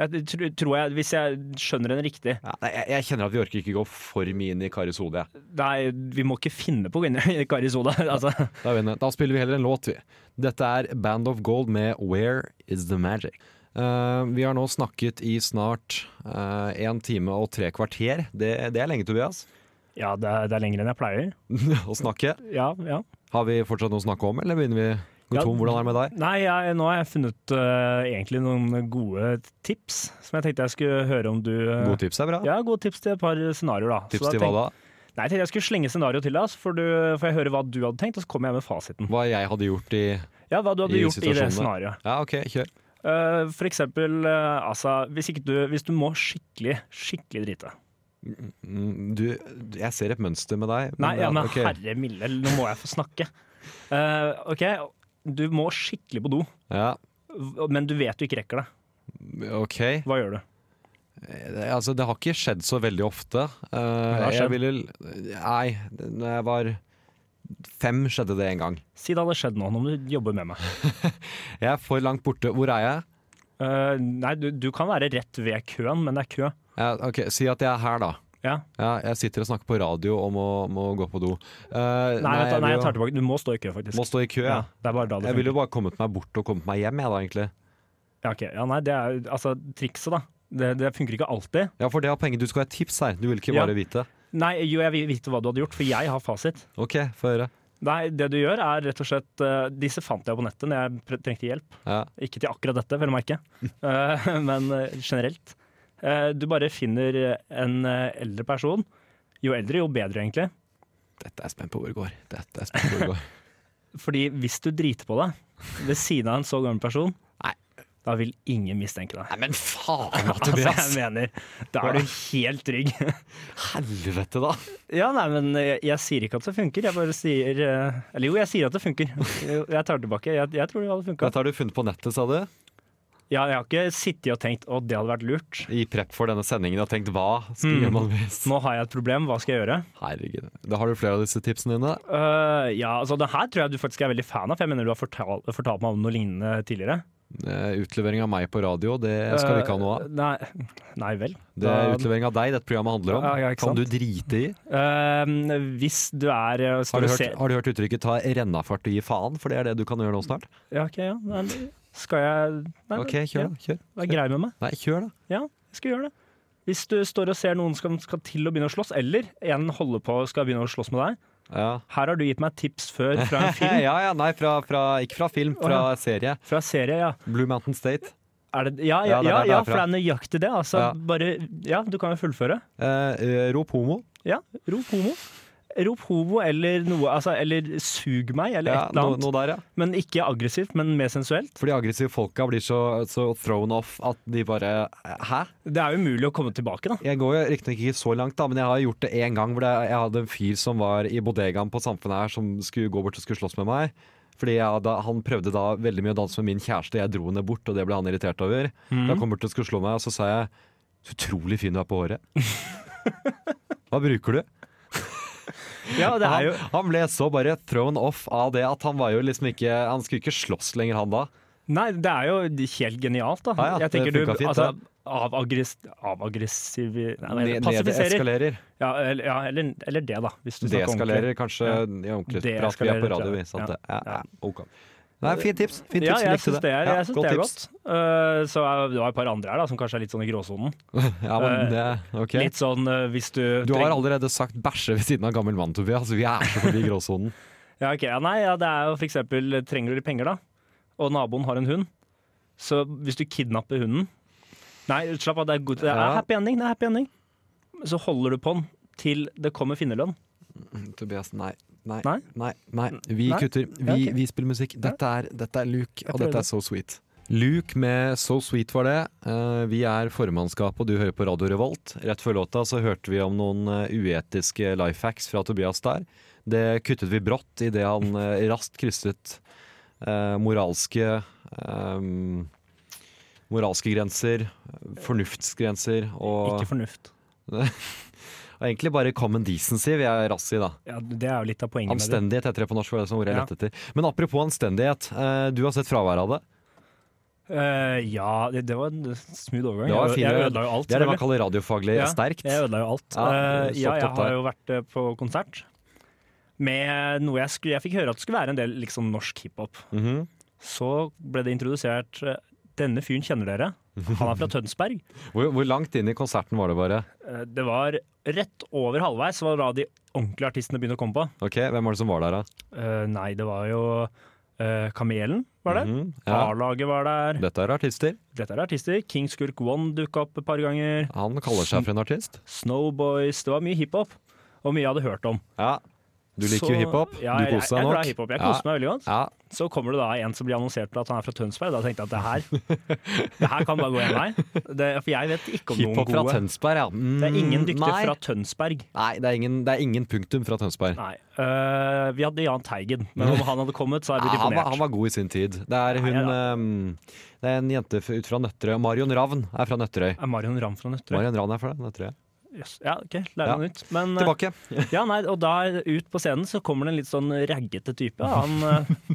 Jeg tror, tror jeg, hvis jeg skjønner henne riktig
Ja, nei, jeg, jeg kjenner at vi orker ikke gå for mye inn i Karis hode. jeg.
Nei, vi må ikke finne på å gå inn i Karisoda. Altså.
Da, er vi inne. da spiller vi heller en låt, vi. Dette er Band of Gold med Where Is The Magic. Eh, vi har nå snakket i snart én time og tre kvarter. Det, det er lenge, Tobias,
Ja, det er, det er lenger enn jeg pleier.
å snakke.
Ja, ja.
Har vi fortsatt noe å snakke om, eller begynner vi gå
Ja.
tom? Hvordan er det med deg?
Nei, jeg, nå har jeg funnet eh, egentlig noen gode tips som jeg tenkte jeg skulle høre om du eh,
Gode tips er bra.
Ja, gode tips til et par scenarioer, da. Så
Tips
da
til hva
tenkte-
da?
Nei, jeg tenkte jeg skulle slenge scenario til deg, så får, du, får jeg høre hva du hadde tenkt, og så kommer jeg med fasiten.
Hva jeg hadde gjort i
Ja, hva du hadde
I
gjort i det
situasjonen, da.
scenarioet.
Ja, OK, kjør.
Eh, for eksempel, eh, altså, hvis, ikke du, hvis du må skikkelig, skikkelig drite.
Mm, Du, jeg ser et mønster med deg.
Nei, ja, men
ok.
herre milde, nå må jeg få snakke. Eh, ok, du må skikkelig på do,
Ja,
v- men du vet du ikke rekker det.
ok.
Hva gjør du?
Det- Altså, det har ikke skjedd så veldig ofte. Eh,
har
jeg
skjedd.
ville Nei, det- når jeg var fem, skjedde det en gang.
Si det hadde skjedd nå, nå må du jobbe med meg.
Jeg er for langt borte. Hvor er jeg?
Eh, nei, du, du kan være rett ved køen, men det er kø.
Ja, ok, Si at jeg er her, da.
Ja.
Ja, jeg sitter og snakker på radio og må, må gå på do.
Nei,
Eh,
nei, nei,
vil
jeg tar
jo-
tilbake. Du må stå i kø, faktisk.
Må stå i kø,
ja.
ja.
det er bare da det
Jeg ville
funker.
jo bare kommet meg bort og kommet meg hjem, jeg da, egentlig.
Ja, ok. ja, nei, det er altså trikset, da. Det, det funker ikke alltid.
Ja, for det har penger. Du skal ha et tips her. Du vil ikke
Ja.
bare vite.
Nei, jo, jeg vil vite hva du hadde gjort, for jeg har fasit.
OK, få høre.
Nei, det du gjør er rett og slett eh, Disse fant jeg på nettet når jeg pre- trengte hjelp.
Ja.
Ikke til akkurat dette, vel å merke, Eh, men eh, generelt. Eh, Du bare finner en eh, eldre person. Jo eldre, jo bedre, egentlig.
Dette er jeg spent på hvor det går. Dette er jeg spent på hvor det går.
Fordi hvis du driter på deg ved siden av en så gammel person,
Nei.
da vil ingen mistenke deg.
Nei, men faen, da,
Altså, jeg
Tobias!
mener, Da er du helt trygg.
Helvete, da!
Ja, nei, men jeg, jeg sier ikke at det funker. Jeg bare sier eh, Eller jo, jeg sier at det funker. Jo, Jeg tar det tilbake. Jeg, jeg tror det hadde funka.
Dette har du funnet på nettet, sa du?
Ja, jeg har ikke sittet og tenkt å, det hadde vært lurt.
I prep for denne sendingen og tenkt hva skriver man hvis?
Nå har jeg et problem, hva skal jeg gjøre?
Mm. Herregud. Da har du flere av disse tipsene dine.
Øh, ja, altså det her tror jeg du faktisk er veldig fan av, for jeg mener du har fortalt, fortalt meg om noe lignende tidligere.
Eh, Utlevering av meg på radio, det skal vi ikke ha noe av.
Øh, Nei, nei vel.
Det er utlevering av deg dette programmet handler om.
Ja, ja, ikke
kan
sant?
du drite i?
Øh, hvis du er øh, skal
Har du,
vi
hørt,
se-
har du hørt uttrykket 'ta rennafart og gi faen'? For det er det du kan gjøre nå snart.
Ja, ok, ja. Nei, skal jeg nei,
OK, kjør, da. Kjør.
Ja, vær grei med meg.
Nei, kjør, da.
Ja, jeg skal gjøre det. Hvis du står og ser noen som skal til å begynne å slåss, eller en holder på og skal begynne å slåss med deg
Ja.
Her har du gitt meg tips før fra en film,
ja, ja, nei, fra, fra, ikke fra film, fra serie.
fra serie, ja.
Blue Mountain State.
Er det, ja,
Ja,
ja, ja,
det er der det
ja,
er
for det
fra.
er nøyaktig det. Altså,
Ja.
Bare, ja, du kan jo fullføre.
Eh, eh, rop homo.
Ja, rop homo. Rop homo eller noe altså, Eller sug meg, eller
Ja,
et eller
noe,
annet.
noe der, ja.
Men ikke aggressivt, men mer sensuelt.
For de aggressive folka blir så, så thrown off at de bare Hæ?
Det er jo umulig å komme tilbake, da.
Jeg går jo riktignok ikke så langt, da, men jeg har gjort det én gang. hvor det, Jeg hadde en fyr som var i bodegaen på Samfunnet her, som skulle gå bort og skulle slåss med meg. Fordi jeg, da, Han prøvde da veldig mye å danse med min kjæreste, jeg dro henne bort, og det ble han irritert over.
Mhm.
Da kom han bort og skulle slå meg, og så sa jeg 'Så utrolig fin du er på håret'. Hva bruker du?
Ja, det er
Han,
jo
han ble så bare thrown off av det at han var jo liksom ikke Han skulle ikke slåss lenger, han da.
Nei, det er jo helt genialt, da.
Ja, ja,
jeg tenker
det
du
funka fint,
altså,
det.
avaggress, Avaggressiv nei, nei,
Ned-
Passifiserer.
Nedeskalerer.
Ja, eller, ja, eller, eller det, da. Hvis du snakker
Deeskalerer,
ordentlig.
kanskje.
Ja.
Ja. Ordentlig prat. Vi er
Deeskalerer,
på radio,
tror
vi.
jeg.
Sant?
Ja.
det? Ja. Ja. ok. Nei, fint tips. Fint tips.
Ja, jeg
likte
syns det er,
Ja,
jeg synes det er
tips.
godt. Uh, så er, du har et par andre her da, som kanskje er litt sånn i gråsonen.
Ja, men det, ok.
Eh, Litt sånn uh, hvis du
Du har
trenger-
allerede sagt bæsje ved siden av gammel mann, Tobias. Vi er så forbi gråsonen.
Ja, ok. ja, nei, ja, det er jo for eksempel Trenger du litt penger, da? Og naboen har en hund. Så hvis du kidnapper hunden Nei, slapp av, det er, god, det er
Ja.
happy ending. det er happy ending Så holder du på den til det kommer finnerlønn.
Tobias, nei. Nei,
Nei?
nei, nei. Vi
Nei?
kutter. Vi,
Ja, ok.
vi spiller musikk. Dette er, dette er Luke, og
prøvde.
dette er So Sweet. Luke med So Sweet var det. Eh, Vi er formannskapet, og du hører på Radio Revolt. Rett før låta så hørte vi om noen eh, uetiske life hacks fra Tobias der. Det kuttet vi brått idet han eh, raskt krysset eh, moralske eh, Moralske grenser, eh, fornuftsgrenser og
Ikke fornuft.
Og egentlig bare common decency vil jeg raskt si, da.
Ja, det er jo litt av poenget med det.
Anstendighet heter det på norsk, for det er sånn ordet jeg
Ja.
lette etter. Men apropos anstendighet, eh, du har sett fraværet av det.
Eh, ja, det, det var en smooth overgang.
Det var
Jeg-
fine-
jeg ødela jo alt.
Det er
selvfølgelig.
det man kaller radiofaglig
Ja,
sterkt.
Jeg ødela jo alt.
Ja,
Eh,
stopp
ja, jeg
opp der.
har jo vært eh, på konsert med noe jeg skulle Jeg fikk høre at det skulle være en del liksom, norsk hiphop.
Mhm.
Så ble det introdusert eh, Denne fyren kjenner dere. Han er fra Tønsberg.
hvor, hvor langt inn i konserten var det bare?
Eh, Det var rett over halvveis, var da de ordentlige artistene begynte å komme på.
Ok, Hvem var det som var der, da?
Eh, nei, det var jo eh, Kamelen, var det.
Mhm, ja.
A-laget var der.
Dette er artister.
Dette er artister. King Skurk One dukka opp et par ganger.
Han kaller seg for en artist.
Snowboys. Det var mye hiphop, og mye jeg hadde hørt om.
Ja. Du liker
Så-
jo hiphop.
Ja,
du koser
jeg,
deg
jeg, jeg er
nok.
glad i hiphop. Jeg koser meg veldig godt.
Ja.
Så kommer det da en som blir annonsert med at han er fra Tønsberg. Da tenkte jeg at det her, det her kan bare gå en vei. Det, for jeg vet ikke om noen
Hiphop fra
gode.
Tønsberg, ja. Mm,
Det er ingen dyktige
nei.
fra Tønsberg.
Nei, det er ingen, det er ingen punktum fra Tønsberg.
Nei. Øh, vi hadde Jahn Teigen, men om han hadde kommet, så er
Ja,
vi
han, var, han
imponert.
var god i sin tid. Det er, hun, ehm, det er en jente f- ut fra Nøtterøy. Marion Ravn er fra Nøtterøy.
Er Marion Ramm fra Nøtterøy?
Marion Ravn er fra Nøtterøy.
Yes. Ja, OK, lærer han ut. Men, øh,
Tilbake.
Ja, nei, og da ut på scenen så kommer det en litt sånn raggete type. Han, eh,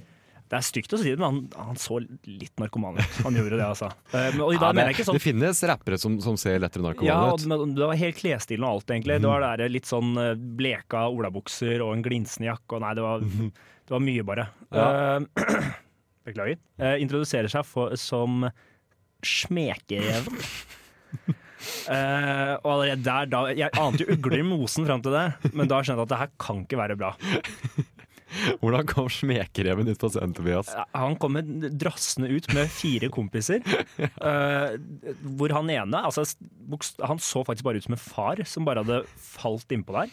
det er stygt å si det, men han, han så litt narkoman ut. Han gjorde det, altså. Eh, men- Og i
Ja,
dag mener
men
jeg ikke
Det
sånn
finnes rappere som, som ser lettere narkomane
ja, og
ut.
men Det var helt klesstilen og alt, egentlig. Det var det der litt sånn eh, bleka olabukser og en glinsende jakke. og Nei, det var, det var mye, bare. Eh, Beklager. Eh, Introduserer seg for, som Smekereven. Eh, og allerede der, da Jeg ante jo ugler i mosen fram til det, men da skjønte jeg at det her kan ikke være bra.
Hvordan kom smekereven ut på scenen, Tobias?
Han kommer drassende ut med fire kompiser. eh, hvor han ene altså, bokst- Han så faktisk bare ut som en far som bare hadde falt innpå der.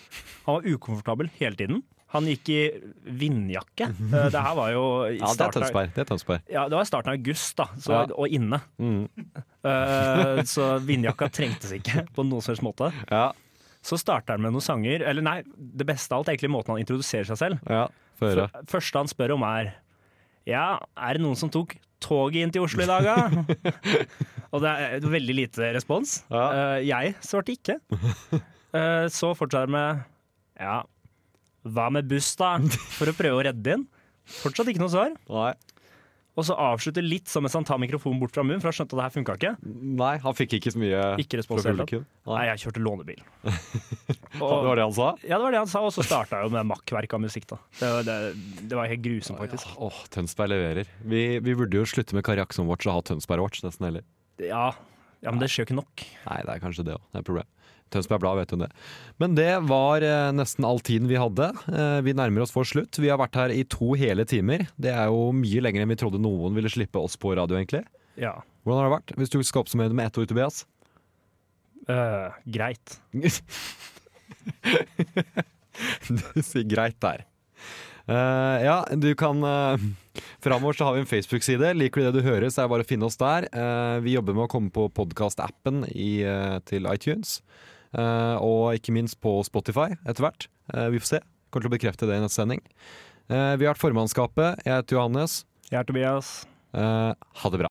Han var ukomfortabel hele tiden. Han gikk i vindjakke. Uh, det her var jo i
Ja, det er
starten av-
Tønsberg. Det er Tønsberg.
ja, det var i starten av august, da, så,
Ja. Mm.
og inne. Eh, så vindjakka trengtes ikke på noen som helst måte.
Ja,
Så starter han med noen sanger. Eller nei, det beste av alt er egentlig måten han introduserer seg selv.
ja. Få høre.
F- Første han spør om er Ja, er det noen som tok toget inn til Oslo i dag, da? og det er veldig lite respons.
Ja.
Eh, jeg svarte ikke. Eh, så fortsetter det med Ja, hva med buss, da? For å prøve å redde inn. Fortsatt ikke noe svar.
Nei.
Og så avslutter litt som mens han tar mikrofonen bort fra munnen, for han skjønte at det her funka ikke.
Nei, han fikk ikke så mye
Ikke respons i det
fra
hele tatt.
publikum. Nei.
Nei, jeg kjørte lånebil.
Det var det han sa?
Ja, det var det han sa, og så starta jo med makkverk av musikk, da. Det, var- det, det var helt grusomt, faktisk.
Åh, Tønsberg leverer. Vi, vi burde jo slutte med Kari Akson-watch og ha Tønsberg-watch, nesten heller.
Ja, ja men det skjer jo ikke nok.
Nei, det er kanskje det òg. Det er et problem. Tønsberg Blad vet jo det. Men det var eh, nesten all tiden vi hadde. Eh, vi nærmer oss vår slutt. Vi har vært her i to hele timer. Det er jo mye lenger enn vi trodde noen ville slippe oss på radio, egentlig.
Ja.
Hvordan har det vært? Hvis du skal oppsummere det med ett ord, Tobias?
Eh, greit.
du sier greit der. Eh, ja, du kan uh, Framover så har vi en Facebook-side. Liker du det du hører, så er det bare å finne oss der. Eh, vi jobber med å komme på podkast-appen uh, til iTunes. Eh, og ikke minst på Spotify etter hvert. Eh, vi får se. Kommer til å bekrefte det i neste sending. Eh, vi har vært formannskapet. Jeg heter Johannes.
Jeg er Tobias.
Eh, ha det bra.